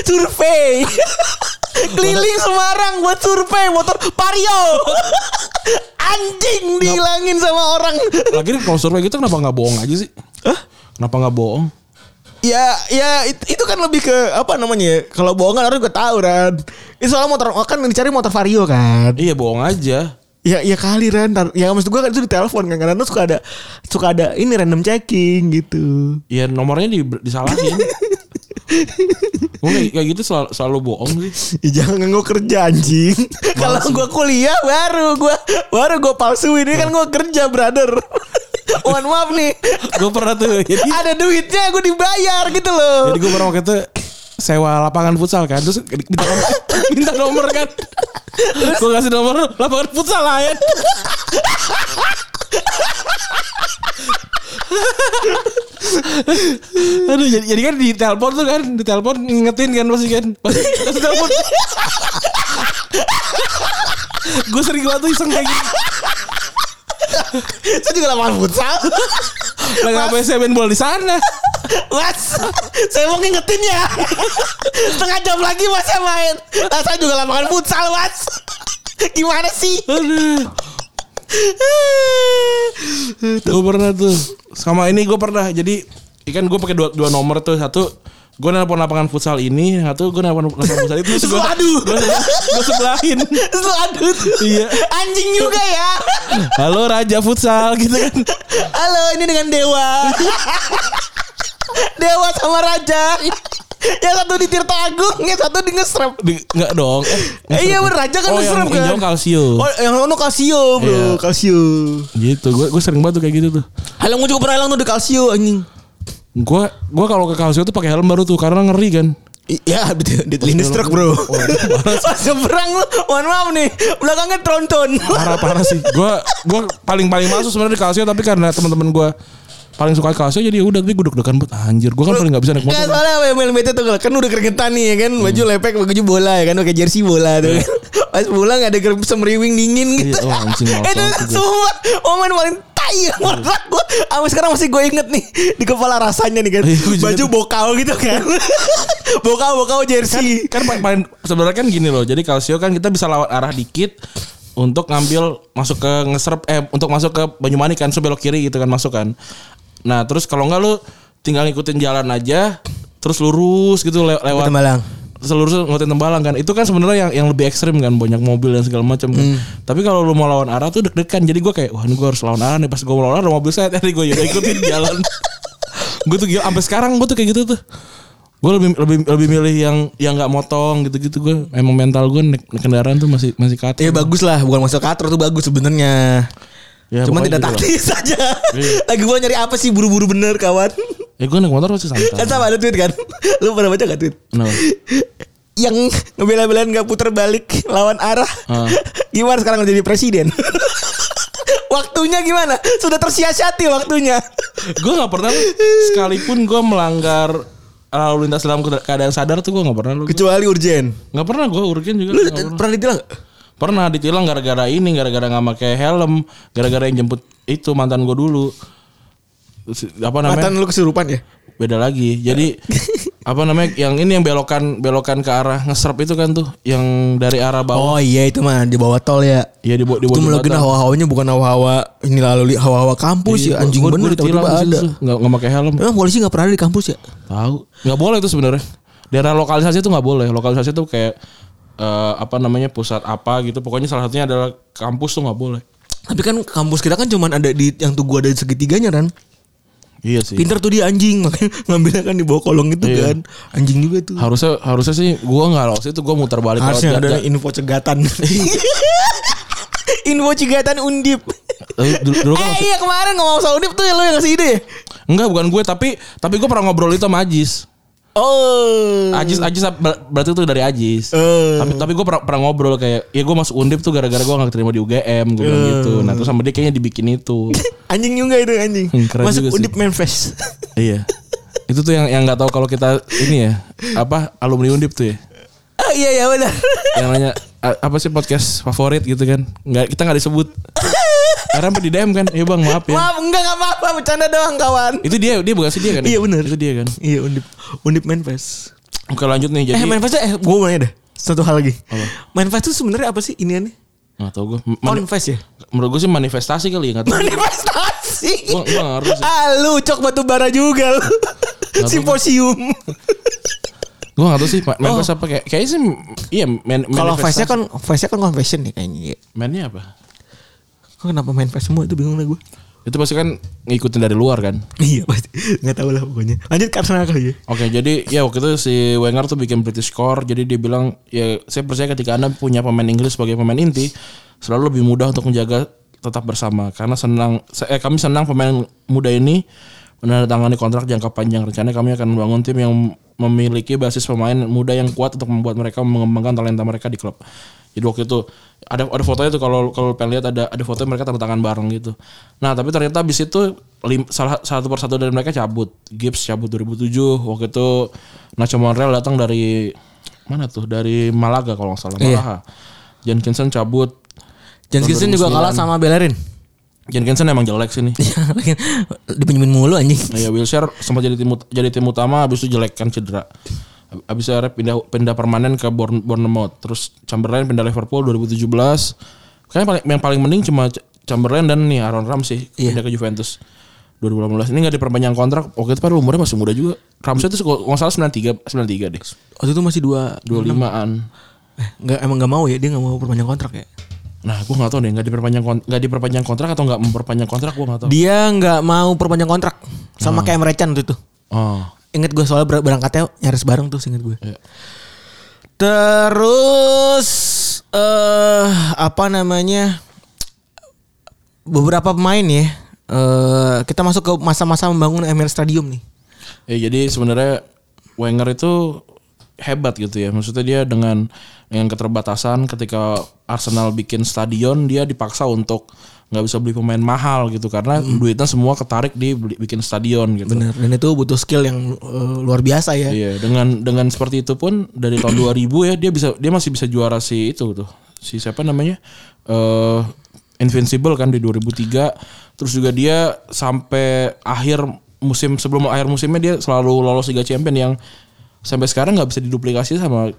Speaker 2: survei keliling Semarang buat survei motor Vario anjing dihilangin sama orang
Speaker 5: Lagi kalau survei gitu kenapa nggak bohong aja sih? Kenapa nggak bohong?
Speaker 2: ya ya it- itu, kan lebih ke apa namanya ya, kalau bohongan orang juga tahu kan ini soal motor kan yang dicari motor Vario kan
Speaker 5: Iya bohong aja.
Speaker 2: Ya ya kali Ren Tar- Ya maksud gue kan itu di telepon kan Karena suka ada Suka ada ini random checking gitu
Speaker 5: Ya nomornya di, disalahin. Gue kayak, kayak gitu selalu, selalu bohong sih.
Speaker 2: Ya jangan gue kerja anjing. Kalau gue kuliah baru gue baru gue palsuin ini kan gue kerja brother. Mohon maaf nih.
Speaker 5: Gue pernah tuh. ya. Jadi,
Speaker 2: Ada duitnya gue dibayar gitu loh.
Speaker 3: Jadi gue pernah waktu itu sewa lapangan futsal kan terus minta nomor, minta nomor kan gue kasih nomor lapangan futsal lain Aduh, jadi, jadi kan di telepon tuh kan, di telepon ngingetin kan pasti kan. Pasti pasti telepon. gue sering banget tuh iseng kayak gitu. gini.
Speaker 2: Saya juga lapangan futsal.
Speaker 3: Lagi apa saya main bola di sana.
Speaker 2: Mas, saya mau ngingetin ya. Setengah jam lagi mas saya main. Nah, saya juga lapangan futsal mas. Gimana sih?
Speaker 3: Aduh. gue pernah tuh sama ini gue pernah jadi ikan gue pakai dua, dua nomor tuh satu gue nelpon lapangan futsal ini satu gue nelpon lapangan futsal itu terus gue
Speaker 2: Waduh.
Speaker 3: gue sebelahin
Speaker 2: Terus aduh.
Speaker 3: Iya.
Speaker 2: Anjing juga ya.
Speaker 3: halo raja futsal gitu kan
Speaker 2: Halo, ini dengan Dewa. Dewa sama Raja. Yang satu di Tirta Agung, yang satu di Ngesrep.
Speaker 3: Di, nggak dong eh,
Speaker 2: Eh, iya bener, Raja kan
Speaker 3: oh yang
Speaker 2: Ngesrep kan.
Speaker 3: hijau kalsio
Speaker 2: Oh, yang ono Kalsio, Bro.
Speaker 3: Iya.
Speaker 2: Kalsio.
Speaker 3: gitu gue gue sering banget tuh kayak gitu tuh
Speaker 2: Helm gua juga pernah hilang tuh di Kalsio anjing.
Speaker 3: gue gue kalau ke kalsio tuh pakai helm baru tuh karena ngeri kan
Speaker 2: Iya, di, di lindes truk, Bro. Pas seberang lu, mohon maaf nih. Belakangnya tronton.
Speaker 3: parah parah sih gue gue paling paling masuk sebenarnya di kalsio tapi karena teman-teman gue paling suka kalsio jadi ya udah gue gudeg degan buat anjir gue kan paling nggak bisa naik
Speaker 2: Kan
Speaker 3: motor Hmm.
Speaker 2: soalnya apa MLB tuh kan udah keringetan nih ya kan baju lepek baju bola ya kan pakai jersey bola tuh kan. Pas pulang ada ger- semriwing dingin gitu.
Speaker 3: Iya, oh, anjing,
Speaker 2: Eh, itu
Speaker 3: ngotot juga.
Speaker 2: semua momen paling tai yang
Speaker 3: Iya.
Speaker 2: menurut gua. Sampai sekarang masih gue inget nih di kepala rasanya nih kan.
Speaker 3: Iya, gua juga
Speaker 2: Baju
Speaker 3: tuh.
Speaker 2: bokau gitu kan. bokau bokau jersey.
Speaker 3: kan pa- paling sebenarnya kan gini loh jadi kalsio kan kita bisa lawan arah dikit untuk ngambil masuk ke ngeserp eh untuk masuk ke Banyumanik kan so belok kiri gitu kan masuk kan nah terus kalau nggak lu tinggal ngikutin jalan aja terus lurus gitu le- lewat
Speaker 2: Tembalang.
Speaker 3: seluruh ngotin tembalang kan itu kan sebenarnya yang yang lebih ekstrim kan banyak mobil dan segala macam kan. tapi kalau lu mau lawan arah tuh deg-degan jadi gue kayak wah ini gue harus lawan arah nih pas gue mau lawan arah mobil saya tadi gue udah ikutin jalan gue tuh gila sampai sekarang gue tuh kayak gitu tuh gue lebih lebih lebih milih yang yang nggak motong gitu-gitu gue emang mental gue naik naik kendaraan tuh masih masih
Speaker 2: Ya
Speaker 3: kater
Speaker 2: bagus lah bukan masuk katro tuh bagus sebenarnya.
Speaker 3: Ya,
Speaker 2: Cuman tidak
Speaker 3: pokoknya gitu
Speaker 2: taktis aja. Lagi gua nyari apa sih buru-buru bener kawan.
Speaker 3: lah. ya gue naik motor masih
Speaker 2: Kan
Speaker 3: santai
Speaker 2: sama ada tweet kan. Lu pernah baca gak tweet?
Speaker 3: Kenapa?
Speaker 2: yang ngebela-belain nggak putar balik lawan arah
Speaker 3: Ah.
Speaker 2: gimana sekarang jadi presiden waktunya gimana sudah tersia-siati waktunya
Speaker 3: gue nggak pernah lu, sekalipun gue melanggar lalu lintas dalam keadaan sadar tuh gue nggak pernah lu
Speaker 2: kecuali urgen
Speaker 3: nggak pernah gue urgen juga
Speaker 2: lu
Speaker 3: nggak
Speaker 2: eh,
Speaker 3: pernah.
Speaker 2: pernah ditilang nggak?
Speaker 3: Pernah ditilang gara-gara ini, gara-gara nggak pakai helm, gara-gara yang jemput itu mantan gue dulu. Terus, Apa namanya?
Speaker 2: mantan lu kesurupan ya
Speaker 3: Beda lagi. Jadi apa namanya yang ini yang belokan belokan ke arah ngeserp itu kan tuh yang dari arah bawah.
Speaker 2: Oh iya itu mah di bawah tol ya.
Speaker 3: Iya di bawah di
Speaker 2: Itu
Speaker 3: bawah
Speaker 2: melakukan
Speaker 3: jembatan.
Speaker 2: hawa-hawanya bukan hawa-hawa ini lalu li- hawa-hawa kampus
Speaker 3: Iya,
Speaker 2: ya anjing
Speaker 3: gua- gua
Speaker 2: bener
Speaker 3: ditilang
Speaker 2: tiba-tiba
Speaker 3: di situ,
Speaker 2: ada.
Speaker 3: Nggak nggak pakai helm.
Speaker 2: Emang polisi nggak pernah ada di kampus ya?
Speaker 3: Tahu. Nggak boleh itu sebenarnya. Daerah lokalisasi itu nggak boleh. Lokalisasi itu kayak eh, apa namanya pusat apa gitu. Pokoknya salah satunya adalah kampus tuh nggak boleh.
Speaker 2: Tapi kan kampus kita kan cuman ada di yang tuh gua ada di segitiganya kan.
Speaker 3: Iya sih.
Speaker 2: Pinter tuh dia anjing makanya ngambilnya kan di bawah kolong itu
Speaker 3: Iya.
Speaker 2: kan. Anjing juga tuh.
Speaker 3: Harusnya harusnya sih gua nggak lolos itu gua muter balik lewat
Speaker 2: Harusnya ada
Speaker 3: Jogja.
Speaker 2: info cegatan. info cegatan undip.
Speaker 3: Tapi dulu, dulu kan
Speaker 2: eh
Speaker 3: masih-
Speaker 2: iya kemarin ngomong sama undip tuh lo yang ngasih ide. ya?
Speaker 3: enggak bukan gue tapi tapi gue pernah ngobrol itu sama Ajis.
Speaker 2: Oh.
Speaker 3: Ajis Ajis ber- berarti itu dari Ajis.
Speaker 2: Eh.
Speaker 3: Tapi tapi gue pernah, pernah ngobrol kayak ya gue masuk Undip tuh gara-gara gue gak terima di UGM gue bilang gitu. Nah terus sama dia kayaknya dibikin itu.
Speaker 2: Anjing juga itu anjing.
Speaker 3: Hmm, keren
Speaker 2: Masuk
Speaker 3: juga sih.
Speaker 2: undip manifest.
Speaker 3: iya. Itu tuh yang yang nggak tahu kalau kita ini ya apa alumni Undip tuh ya.
Speaker 2: ah iya ya benar.
Speaker 3: Yang nanya "A- apa sih podcast favorit gitu kan. Nggak kita nggak disebut. Karena sampai di DM kan. Ya bang maaf ya.
Speaker 2: Maaf enggak enggak apa-apa bercanda doang kawan.
Speaker 3: Itu dia dia bukan sih dia kan. ya?
Speaker 2: Iya, bener.
Speaker 3: Itu dia kan.
Speaker 2: Iya undip undip manifest.
Speaker 3: Oke lanjut nih jadi.
Speaker 2: eh manifest eh gue mau nanya deh satu hal lagi. Manifest tuh sebenarnya apa sih ini nih?
Speaker 3: Nggak tahu gue.
Speaker 2: Manifest ya.
Speaker 3: menurut gue sih manifestasi kali ya nggak tahu.
Speaker 2: Manifestasi.
Speaker 3: Gua- gua nggak ngerti sih.
Speaker 2: Ah lu cok batu bara juga lu.
Speaker 3: tahu.
Speaker 2: Simposium.
Speaker 3: Gue gak tau sih ma- manifest apa kayak kayaknya sih m- iya man,
Speaker 2: Oh. Kalau face-nya
Speaker 3: manifestasi.
Speaker 2: kan face-nya kan confession nih kayaknya.
Speaker 3: mannya apa?
Speaker 2: Kok kenapa manifest semua itu bingung lah gue.
Speaker 3: Itu pasti kan ngikutin dari luar kan.
Speaker 2: Iya pasti nggak tahu lah pokoknya. Lanjut ke Arsenal kali ya.
Speaker 3: Oke, jadi ya waktu itu si Wenger tuh bikin British Core, jadi dia bilang ya saya percaya ketika Anda punya pemain Inggris sebagai pemain inti, selalu lebih mudah untuk menjaga tetap bersama karena senang eh kami senang pemain muda ini menandatangani kontrak jangka panjang. Rencananya kami akan membangun tim yang memiliki basis pemain muda yang kuat untuk membuat mereka mengembangkan talenta mereka di klub. Jadi waktu itu ada ada fotonya tuh kalau kalau lu pengen lihat ada ada foto mereka tanda tangan bareng gitu. Nah tapi ternyata abis itu lim- salah satu persatu dari mereka cabut. Gibbs cabut 2007 waktu itu Nacho Monreal datang dari mana tuh dari Malaga kalau nggak salah Malaga. Jenkinson cabut.
Speaker 2: Jenkinson juga kalah sama Bellerin.
Speaker 3: Jenkinson emang jelek sih nih.
Speaker 2: Dipinjemin Iya, mulu anjing.
Speaker 3: Nah, ya Wilshere sempat jadi tim ut- jadi tim utama habis itu jelek kan cedera. Hab- Habis itu akhirnya pindah pindah permanen ke Bourne- Bournemouth. Terus Chamberlain pindah Liverpool 2017. Kayaknya paling yang paling mending cuma C- Chamberlain dan nih Aaron Ramsey pindah ke Juventus. 2018 ini nggak diperpanjang kontrak. Waktu itu padahal umurnya masih muda juga. Ramsey itu kalau nggak salah 93 93 deh.
Speaker 2: Waktu itu masih dua
Speaker 3: 25-an.
Speaker 2: Eh, nggak emang nggak mau ya dia nggak mau perpanjang kontrak ya.
Speaker 3: Nah, gua nggak tahu deh nggak diperpanjang kon- nggak diperpanjang kontrak atau nggak memperpanjang kontrak gua nggak tahu.
Speaker 2: Dia nggak mau perpanjang kontrak sama kayak Merecan waktu itu.
Speaker 3: Oh.
Speaker 2: Ingat gue soalnya ber- berangkatnya nyaris bareng tuh, inget gue. Terus eh apa namanya beberapa pemain ya. eh kita masuk ke masa-masa membangun Emirates Stadium nih.
Speaker 3: Ya jadi sebenarnya Wenger itu hebat gitu ya. Maksudnya dia dengan dengan keterbatasan ketika Arsenal bikin stadion dia dipaksa untuk nggak bisa beli pemain mahal gitu karena duitnya semua ketarik di beli- bikin stadion gitu.
Speaker 2: Bener. Dan itu butuh skill yang eh, luar biasa ya.
Speaker 3: Iya, dengan dengan seperti itu pun dari tahun 2000 ya dia bisa dia masih bisa juara si itu tuh. Si siapa namanya? Eh Invincible kan di 2003. Terus juga dia sampai akhir musim sebelum akhir musimnya dia selalu lolos Liga Champion yang sampai sekarang nggak bisa diduplikasi sama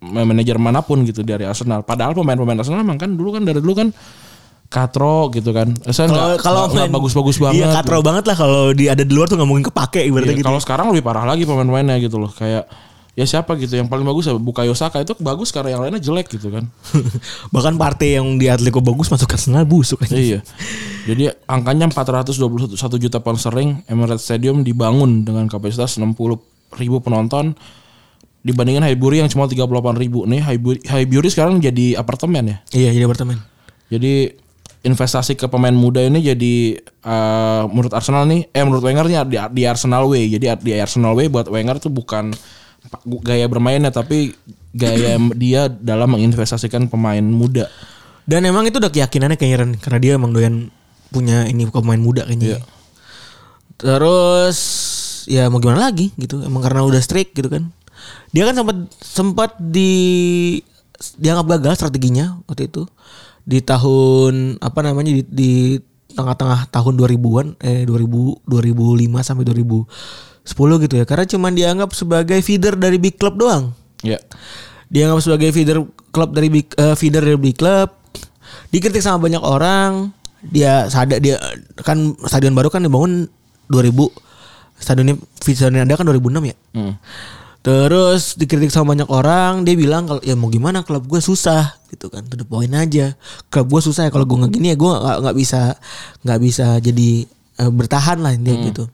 Speaker 3: manajer manapun gitu dari Arsenal. Padahal pemain-pemain Arsenal emang kan dulu kan dari dulu kan katro gitu kan. Saya
Speaker 2: Kalau
Speaker 3: nggak-
Speaker 2: kalau
Speaker 3: nggak- nggak
Speaker 2: main-
Speaker 3: bagus-bagus banget.
Speaker 2: Iya, katro banget lah kalau di ada di luar tuh nggak mungkin kepake ibaratnya
Speaker 3: Iya,
Speaker 2: gitu.
Speaker 3: Kalau sekarang lebih parah lagi pemain-pemainnya gitu loh. Kayak ya siapa gitu yang paling bagus buka Yosaka itu bagus karena yang lainnya jelek gitu kan.
Speaker 2: Bahkan partai yang di Atletico bagus masuk ke Arsenal busuk aja.
Speaker 3: iya. Jadi angkanya 421 juta pound sterling Emirates Stadium dibangun dengan kapasitas 60 ribu penonton dibandingkan Highbury yang cuma 38 ribu nih Highbury, Highbury sekarang jadi apartemen ya.
Speaker 2: Iya, jadi apartemen.
Speaker 3: Jadi investasi ke pemain muda ini jadi eh, menurut Arsenal nih eh menurut Wenger nih di, di Arsenal way. Jadi di Arsenal way buat Wenger tuh bukan pa- gaya bermainnya tapi gaya dia dalam menginvestasikan pemain muda.
Speaker 2: Dan emang itu udah keyakinannya kayaknya Ren. Karena dia emang doyan punya ini pemain muda kayaknya. Terus ya mau gimana lagi gitu. Emang karena udah strict gitu kan. Dia kan sempat sempat di dianggap gagal strateginya waktu itu di tahun apa namanya di, di tengah-tengah tahun 2000-an eh 2000 2005 sampai 2010 gitu ya. Karena cuman dianggap sebagai feeder dari big club doang.
Speaker 3: Ya.
Speaker 2: Dianggap sebagai feeder klub dari big eh, feeder dari big club. Dikritik sama banyak orang. Dia sadar dia kan stadion baru kan dibangun 2000. Stadionnya stadionnya Anda kan 2006 ya.
Speaker 3: Hmm.
Speaker 2: Terus dikritik sama banyak orang, dia bilang kalau ya mau gimana klub gue susah gitu kan, to the point aja. Klub gue susah ya kalau gue nggak gini ya gue nggak nggak bisa nggak bisa jadi eh, bertahan lah intinya gitu.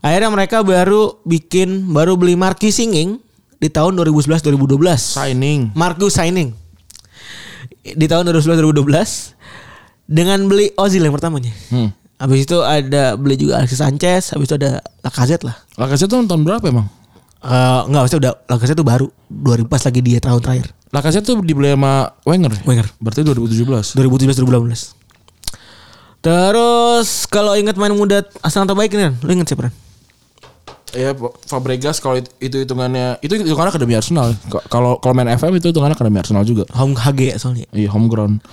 Speaker 2: Akhirnya mereka baru bikin baru beli Marquis Singing di tahun 2011 2012.
Speaker 3: Signing.
Speaker 2: Marcus signing di tahun 2011 2012 dengan beli Ozil yang pertamanya.
Speaker 3: Hmm.
Speaker 2: Habis itu ada beli juga Alexis Sanchez, habis itu ada Lacazette lah.
Speaker 3: Lacazette tuh tahun berapa emang?
Speaker 2: Eh enggak, maksudnya udah Lacazette tuh baru 2000 pas lagi dia tahun terakhir.
Speaker 3: Lacazette tuh dibeli sama Wenger. ya?
Speaker 2: Wenger.
Speaker 3: Berarti 2017.
Speaker 2: 2017 2018. Terus kalau ingat main muda Asal terbaik ini kan, lu ingat siapa? Ran?
Speaker 3: Iya, Pak. Fabregas kalau itu itu hitungannya itu hitungannya akademi Arsenal. K- Kalau kalau main FM itu hitungannya akademi Arsenal juga.
Speaker 2: Hong HG ya soalnya.
Speaker 3: Iya, homegrown.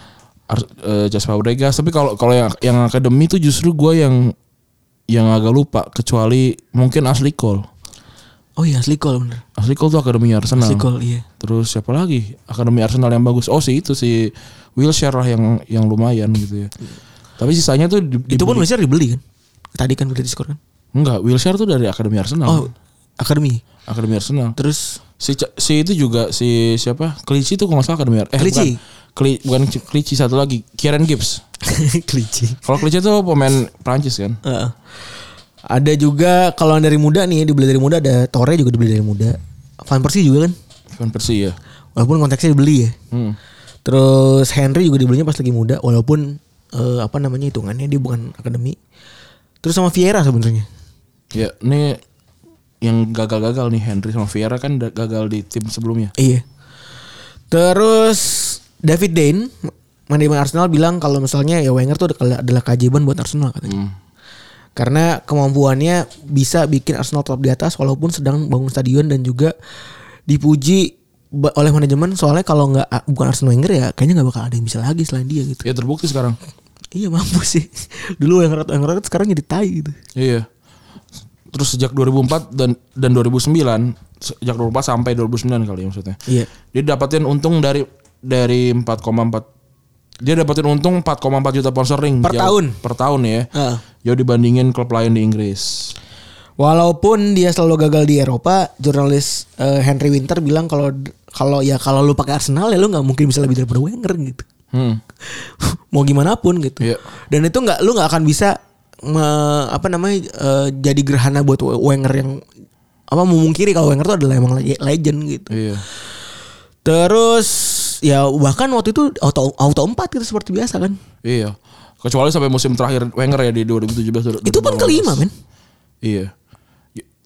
Speaker 3: Ar, eh, Jas Fabregas, tapi kalau kalau yang yang akademi itu justru gue yang yang agak lupa kecuali mungkin Asli Cole.
Speaker 2: Oh iya asli gol bener.
Speaker 3: Asli Cole tuh akademi Arsenal.
Speaker 2: Asli gol iya.
Speaker 3: Terus siapa lagi? Akademi Arsenal yang bagus. Oh si itu si Wilshere lah yang yang lumayan gitu ya. Tapi sisanya tuh di,
Speaker 2: Itu pun
Speaker 3: dibeli-
Speaker 2: Wilshere dibeli kan? Tadi kan udah diskor kan?
Speaker 3: enggak Wilshere tuh dari akademi Arsenal.
Speaker 2: Oh, akademi.
Speaker 3: Akademi Arsenal.
Speaker 2: Terus
Speaker 3: Si Ca- si itu juga si siapa? Klici tuh kalau nggak salah akademi Ar- eh,
Speaker 2: Klici?
Speaker 3: Bukan, Kli, bukan C- Klici satu lagi, Kieran Gibbs.
Speaker 2: kelinci.
Speaker 3: Kalau Klici tuh pemain Prancis kan.
Speaker 2: Heeh. Ada juga kalau yang dari muda nih dibeli dari muda ada Torre juga dibeli dari muda. Van Persie juga kan?
Speaker 3: Van Persie ya.
Speaker 2: Walaupun konteksnya dibeli ya.
Speaker 3: Hmm.
Speaker 2: Terus Henry juga dibelinya pas lagi muda walaupun eh, apa namanya hitungannya dia bukan akademi. Terus sama Vieira sebenarnya.
Speaker 3: Ya, ini yang gagal-gagal nih Henry sama Vieira kan da- gagal di tim sebelumnya.
Speaker 2: Iya. Terus David Dane manajemen Arsenal bilang kalau misalnya ya Wenger tuh adalah adalah keajaiban buat Arsenal katanya. Karena kemampuannya bisa bikin Arsenal tetap di atas walaupun sedang bangun stadion dan juga dipuji ba- oleh manajemen soalnya kalau nggak a- bukan Arsenal Wenger ya kayaknya nggak bakal ada yang bisa lagi selain dia gitu.
Speaker 3: Ya terbukti sekarang.
Speaker 2: Iya mampus sih. Dulu Wenger Wenger sekarang jadi tai gitu.
Speaker 3: Iya. Terus sejak 2004 dan dan 2009, sejak 2004 sampai 2009 kali ya maksudnya.
Speaker 2: Iya.
Speaker 3: Dia dapatin untung dari dari 4,4 dia dapatin untung 4,4 juta pound sterling
Speaker 2: Per
Speaker 3: jauh-
Speaker 2: tahun.
Speaker 3: Per tahun ya.
Speaker 2: Heeh.
Speaker 3: Jauh dibandingin klub lain di Inggris.
Speaker 2: Walaupun dia selalu gagal di Eropa, jurnalis eh, Henry Winter bilang kalau kalau ya kalau lu pakai Arsenal ya lu nggak mungkin bisa lebih daripada Wenger gitu.
Speaker 3: Hmm.
Speaker 2: Mau gimana pun gitu.
Speaker 3: Iya.
Speaker 2: Dan itu nggak lu nggak akan bisa me- apa namanya eh, jadi gerhana buat Wenger yang apa memungkiri kalau Wenger tuh adalah emang le- legend gitu.
Speaker 3: Iya.
Speaker 2: Terus ya bahkan waktu itu auto auto 4 gitu seperti biasa kan.
Speaker 3: Iya. Kecuali sampai musim terakhir Wenger ya di 2017
Speaker 2: Itu pun
Speaker 3: 2018.
Speaker 2: kelima men.
Speaker 3: Iya.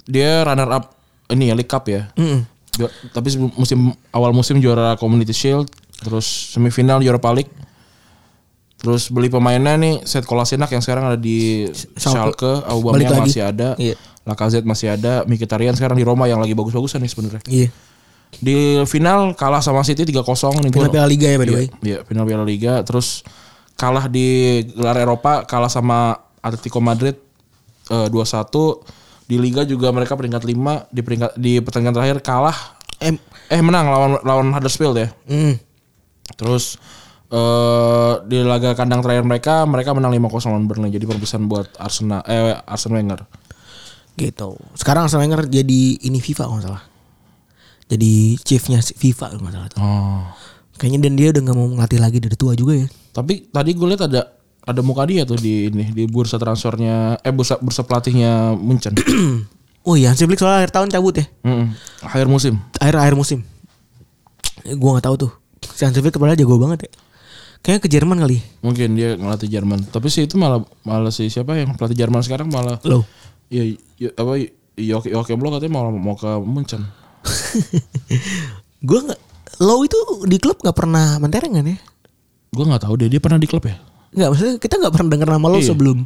Speaker 3: Dia runner up ini ya League Cup ya.
Speaker 2: Hmm.
Speaker 3: Ju- Tapi sebelum- musim awal musim juara Community Shield, terus semifinal Europa League. Terus beli pemainnya nih Set Kolasinac yang sekarang ada di
Speaker 2: Schalke.
Speaker 3: Schalke,
Speaker 2: Balik
Speaker 3: Aubameyang
Speaker 2: lagi.
Speaker 3: masih ada,
Speaker 2: Iya.
Speaker 3: Lacazette masih ada, Mkhitaryan sekarang di Roma yang lagi bagus-bagusan nih sebenarnya.
Speaker 2: Iya.
Speaker 3: Di final kalah sama City 3-0 nih.
Speaker 2: Final
Speaker 3: gua-
Speaker 2: Piala Liga ya by the
Speaker 3: Iya,
Speaker 2: way.
Speaker 3: Iya, final Piala Liga terus kalah di gelar Eropa, kalah sama Atletico Madrid eh, 2-1. Di liga juga mereka peringkat 5, di peringkat di pertandingan terakhir kalah
Speaker 2: Em,
Speaker 3: eh menang lawan lawan Huddersfield ya.
Speaker 2: mm.
Speaker 3: Terus eh di laga kandang terakhir mereka mereka menang 5-0 lawan Burnley. Jadi perpisahan buat Arsenal eh Arsene Wenger.
Speaker 2: gitu. Sekarang Arsene Wenger jadi ini FIFA kalau nggak salah. Jadi chiefnya si- FIFA kalau nggak salah.
Speaker 3: Oh.
Speaker 2: Kayaknya dan dia udah nggak mau ngelatih lagi dari tua juga ya.
Speaker 3: Tapi tadi gue lihat ada ada muka dia tuh di ini di bursa transfernya eh bursa bursa pelatihnya Munchen.
Speaker 2: Oh iya, Hansi Flick soalnya akhir tahun cabut ya.
Speaker 3: Mm-mm. Akhir musim.
Speaker 2: Akhir akhir musim. Eh, Gua nggak tahu tuh. Si Hansi Flick kepala jago banget ya. Kayaknya ke Jerman kali.
Speaker 3: Mungkin dia ngelatih Jerman. Tapi sih itu malah malah si siapa yang pelatih Jerman sekarang malah
Speaker 2: Loh.
Speaker 3: ya, ya apa Yoke Yoke Bloh katanya mau mau ke Munchen.
Speaker 2: Gua nggak Low itu di klub nggak pernah mentereng kan ya?
Speaker 3: Gue nggak tahu deh dia pernah di klub ya.
Speaker 2: Enggak, maksudnya kita nggak pernah dengar nama lo
Speaker 3: Iya.
Speaker 2: sebelum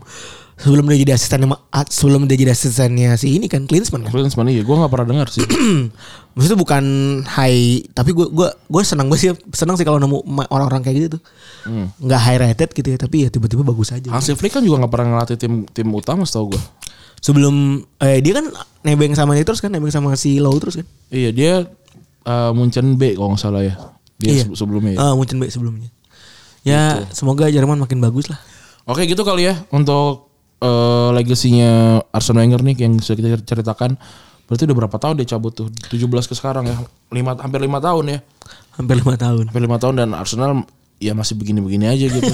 Speaker 2: sebelum dia jadi asistennya Ma- ah, sebelum dia jadi asistennya si ini kan Klinsmann kan.
Speaker 3: Clint Eastwood, iya, gue gak pernah dengar sih.
Speaker 2: Maksudnya bukan high, tapi gue gua gua senang banget sih, senang sih kalau nemu ma- orang-orang kayak gitu tuh. Nggak high rated gitu ya, tapi ya tiba-tiba bagus aja.
Speaker 3: Hansi Flick kan juga gak pernah ngelatih tim tim utama setahu gue.
Speaker 2: Sebelum eh dia kan nebeng sama dia terus kan, nebeng sama si Low terus kan.
Speaker 3: Iya dia eh, Munchen B kalau nggak salah ya. Dia
Speaker 2: Iya.
Speaker 3: se- sebelumnya. ya.
Speaker 2: Ah, Munchen B sebelumnya. Ya, semoga Jerman makin bagus lah.
Speaker 3: Oke gitu kali ya untuk eh, legasinya Arsene Wenger nih yang sudah kita ceritakan. Berarti udah berapa tahun dia cabut tuh? 17 ke sekarang ya. Lima, hampir lima tahun ya.
Speaker 2: Hampir lima tahun.
Speaker 3: Hampir lima tahun dan Arsenal ya masih begini-begini aja gitu.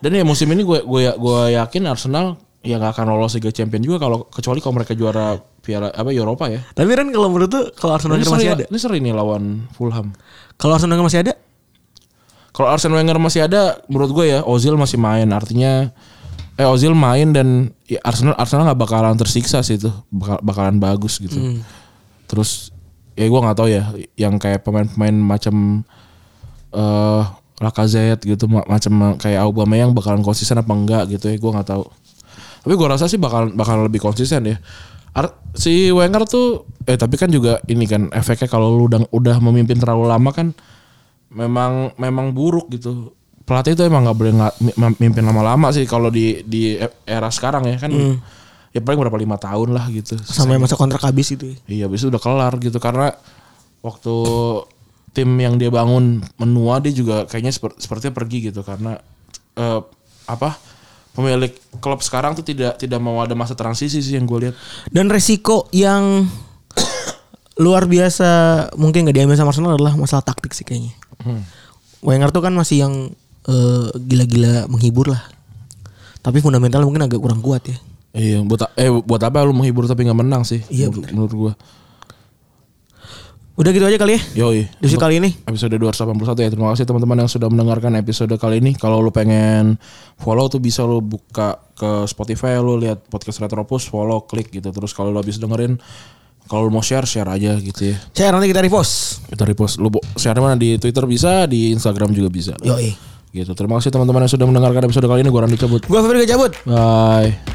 Speaker 3: dan ya musim ini gue gue gue yakin Arsenal ya gak akan lolos Liga Champions juga kalau kecuali kalau mereka juara Piala apa Eropa ya.
Speaker 2: Tapi Ren kalau menurut tuh kalau Arsenal
Speaker 3: Ini
Speaker 2: Wenger
Speaker 3: seri,
Speaker 2: masih ada.
Speaker 3: ini seri nih lawan Fulham.
Speaker 2: Kalau Arsenal Wenger masih ada,
Speaker 3: Kalau Arsene Wenger masih ada, menurut gue ya Ozil masih main. Artinya eh Ozil main dan ya, Arsenal Arsenal nggak bakalan tersiksa sih itu, Bakal- bakalan bagus gitu.
Speaker 2: Hmm.
Speaker 3: Terus ya gue nggak tahu ya, yang kayak pemain-pemain macam eh Lacazette gitu, ma- macam kayak Aubameyang bakalan konsisten apa enggak gitu ya, gue nggak tahu. Tapi gue rasa sih bakalan bakalan lebih konsisten ya. Ar- si Wenger tuh eh tapi kan juga ini kan efeknya kalau lu udah udah memimpin terlalu lama kan memang memang buruk gitu pelatih itu emang nggak boleh nggak mimpin lama-lama sih kalau di di era sekarang ya kan ya paling berapa lima tahun lah gitu
Speaker 2: sampai masa kontrak habis gitu ya? itu.
Speaker 3: iya habis itu udah kelar gitu karena waktu tim yang dia bangun menua dia juga kayaknya seper- sepertinya pergi gitu karena eh, apa pemilik klub sekarang tuh tidak tidak mau ada masa transisi sih yang gue lihat
Speaker 2: Dan resiko yang luar biasa mungkin nggak diambil sama Arsenal adalah masalah taktik sih kayaknya. Wenger tuh kan masih yang eh, gila-gila menghibur lah. Tapi fundamental mungkin agak kurang kuat ya.
Speaker 3: iya buat a- eh buat apa lu menghibur tapi nggak menang sih
Speaker 2: Iya,
Speaker 3: menurut, menurut gue
Speaker 2: Udah gitu aja kali ya.
Speaker 3: yoi
Speaker 2: Diskusi kali ini.
Speaker 3: episode 281 ya. Terima kasih teman-teman yang sudah mendengarkan episode kali ini. Kalau lu pengen follow tuh bisa lu buka ke Spotify, lu lihat podcast Retropus, follow, klik gitu. Terus kalau lu habis dengerin kalau lu mau share, share aja gitu ya.
Speaker 2: Share nanti kita repost.
Speaker 3: Kita repost. Lu bo- share mana di Twitter bisa, di Instagram juga bisa.
Speaker 2: Yoi.
Speaker 3: Gitu. Terima kasih teman-teman yang sudah mendengarkan episode kali ini. Gua Randy cabut.
Speaker 2: Gua Febri gak cabut.
Speaker 3: Bye.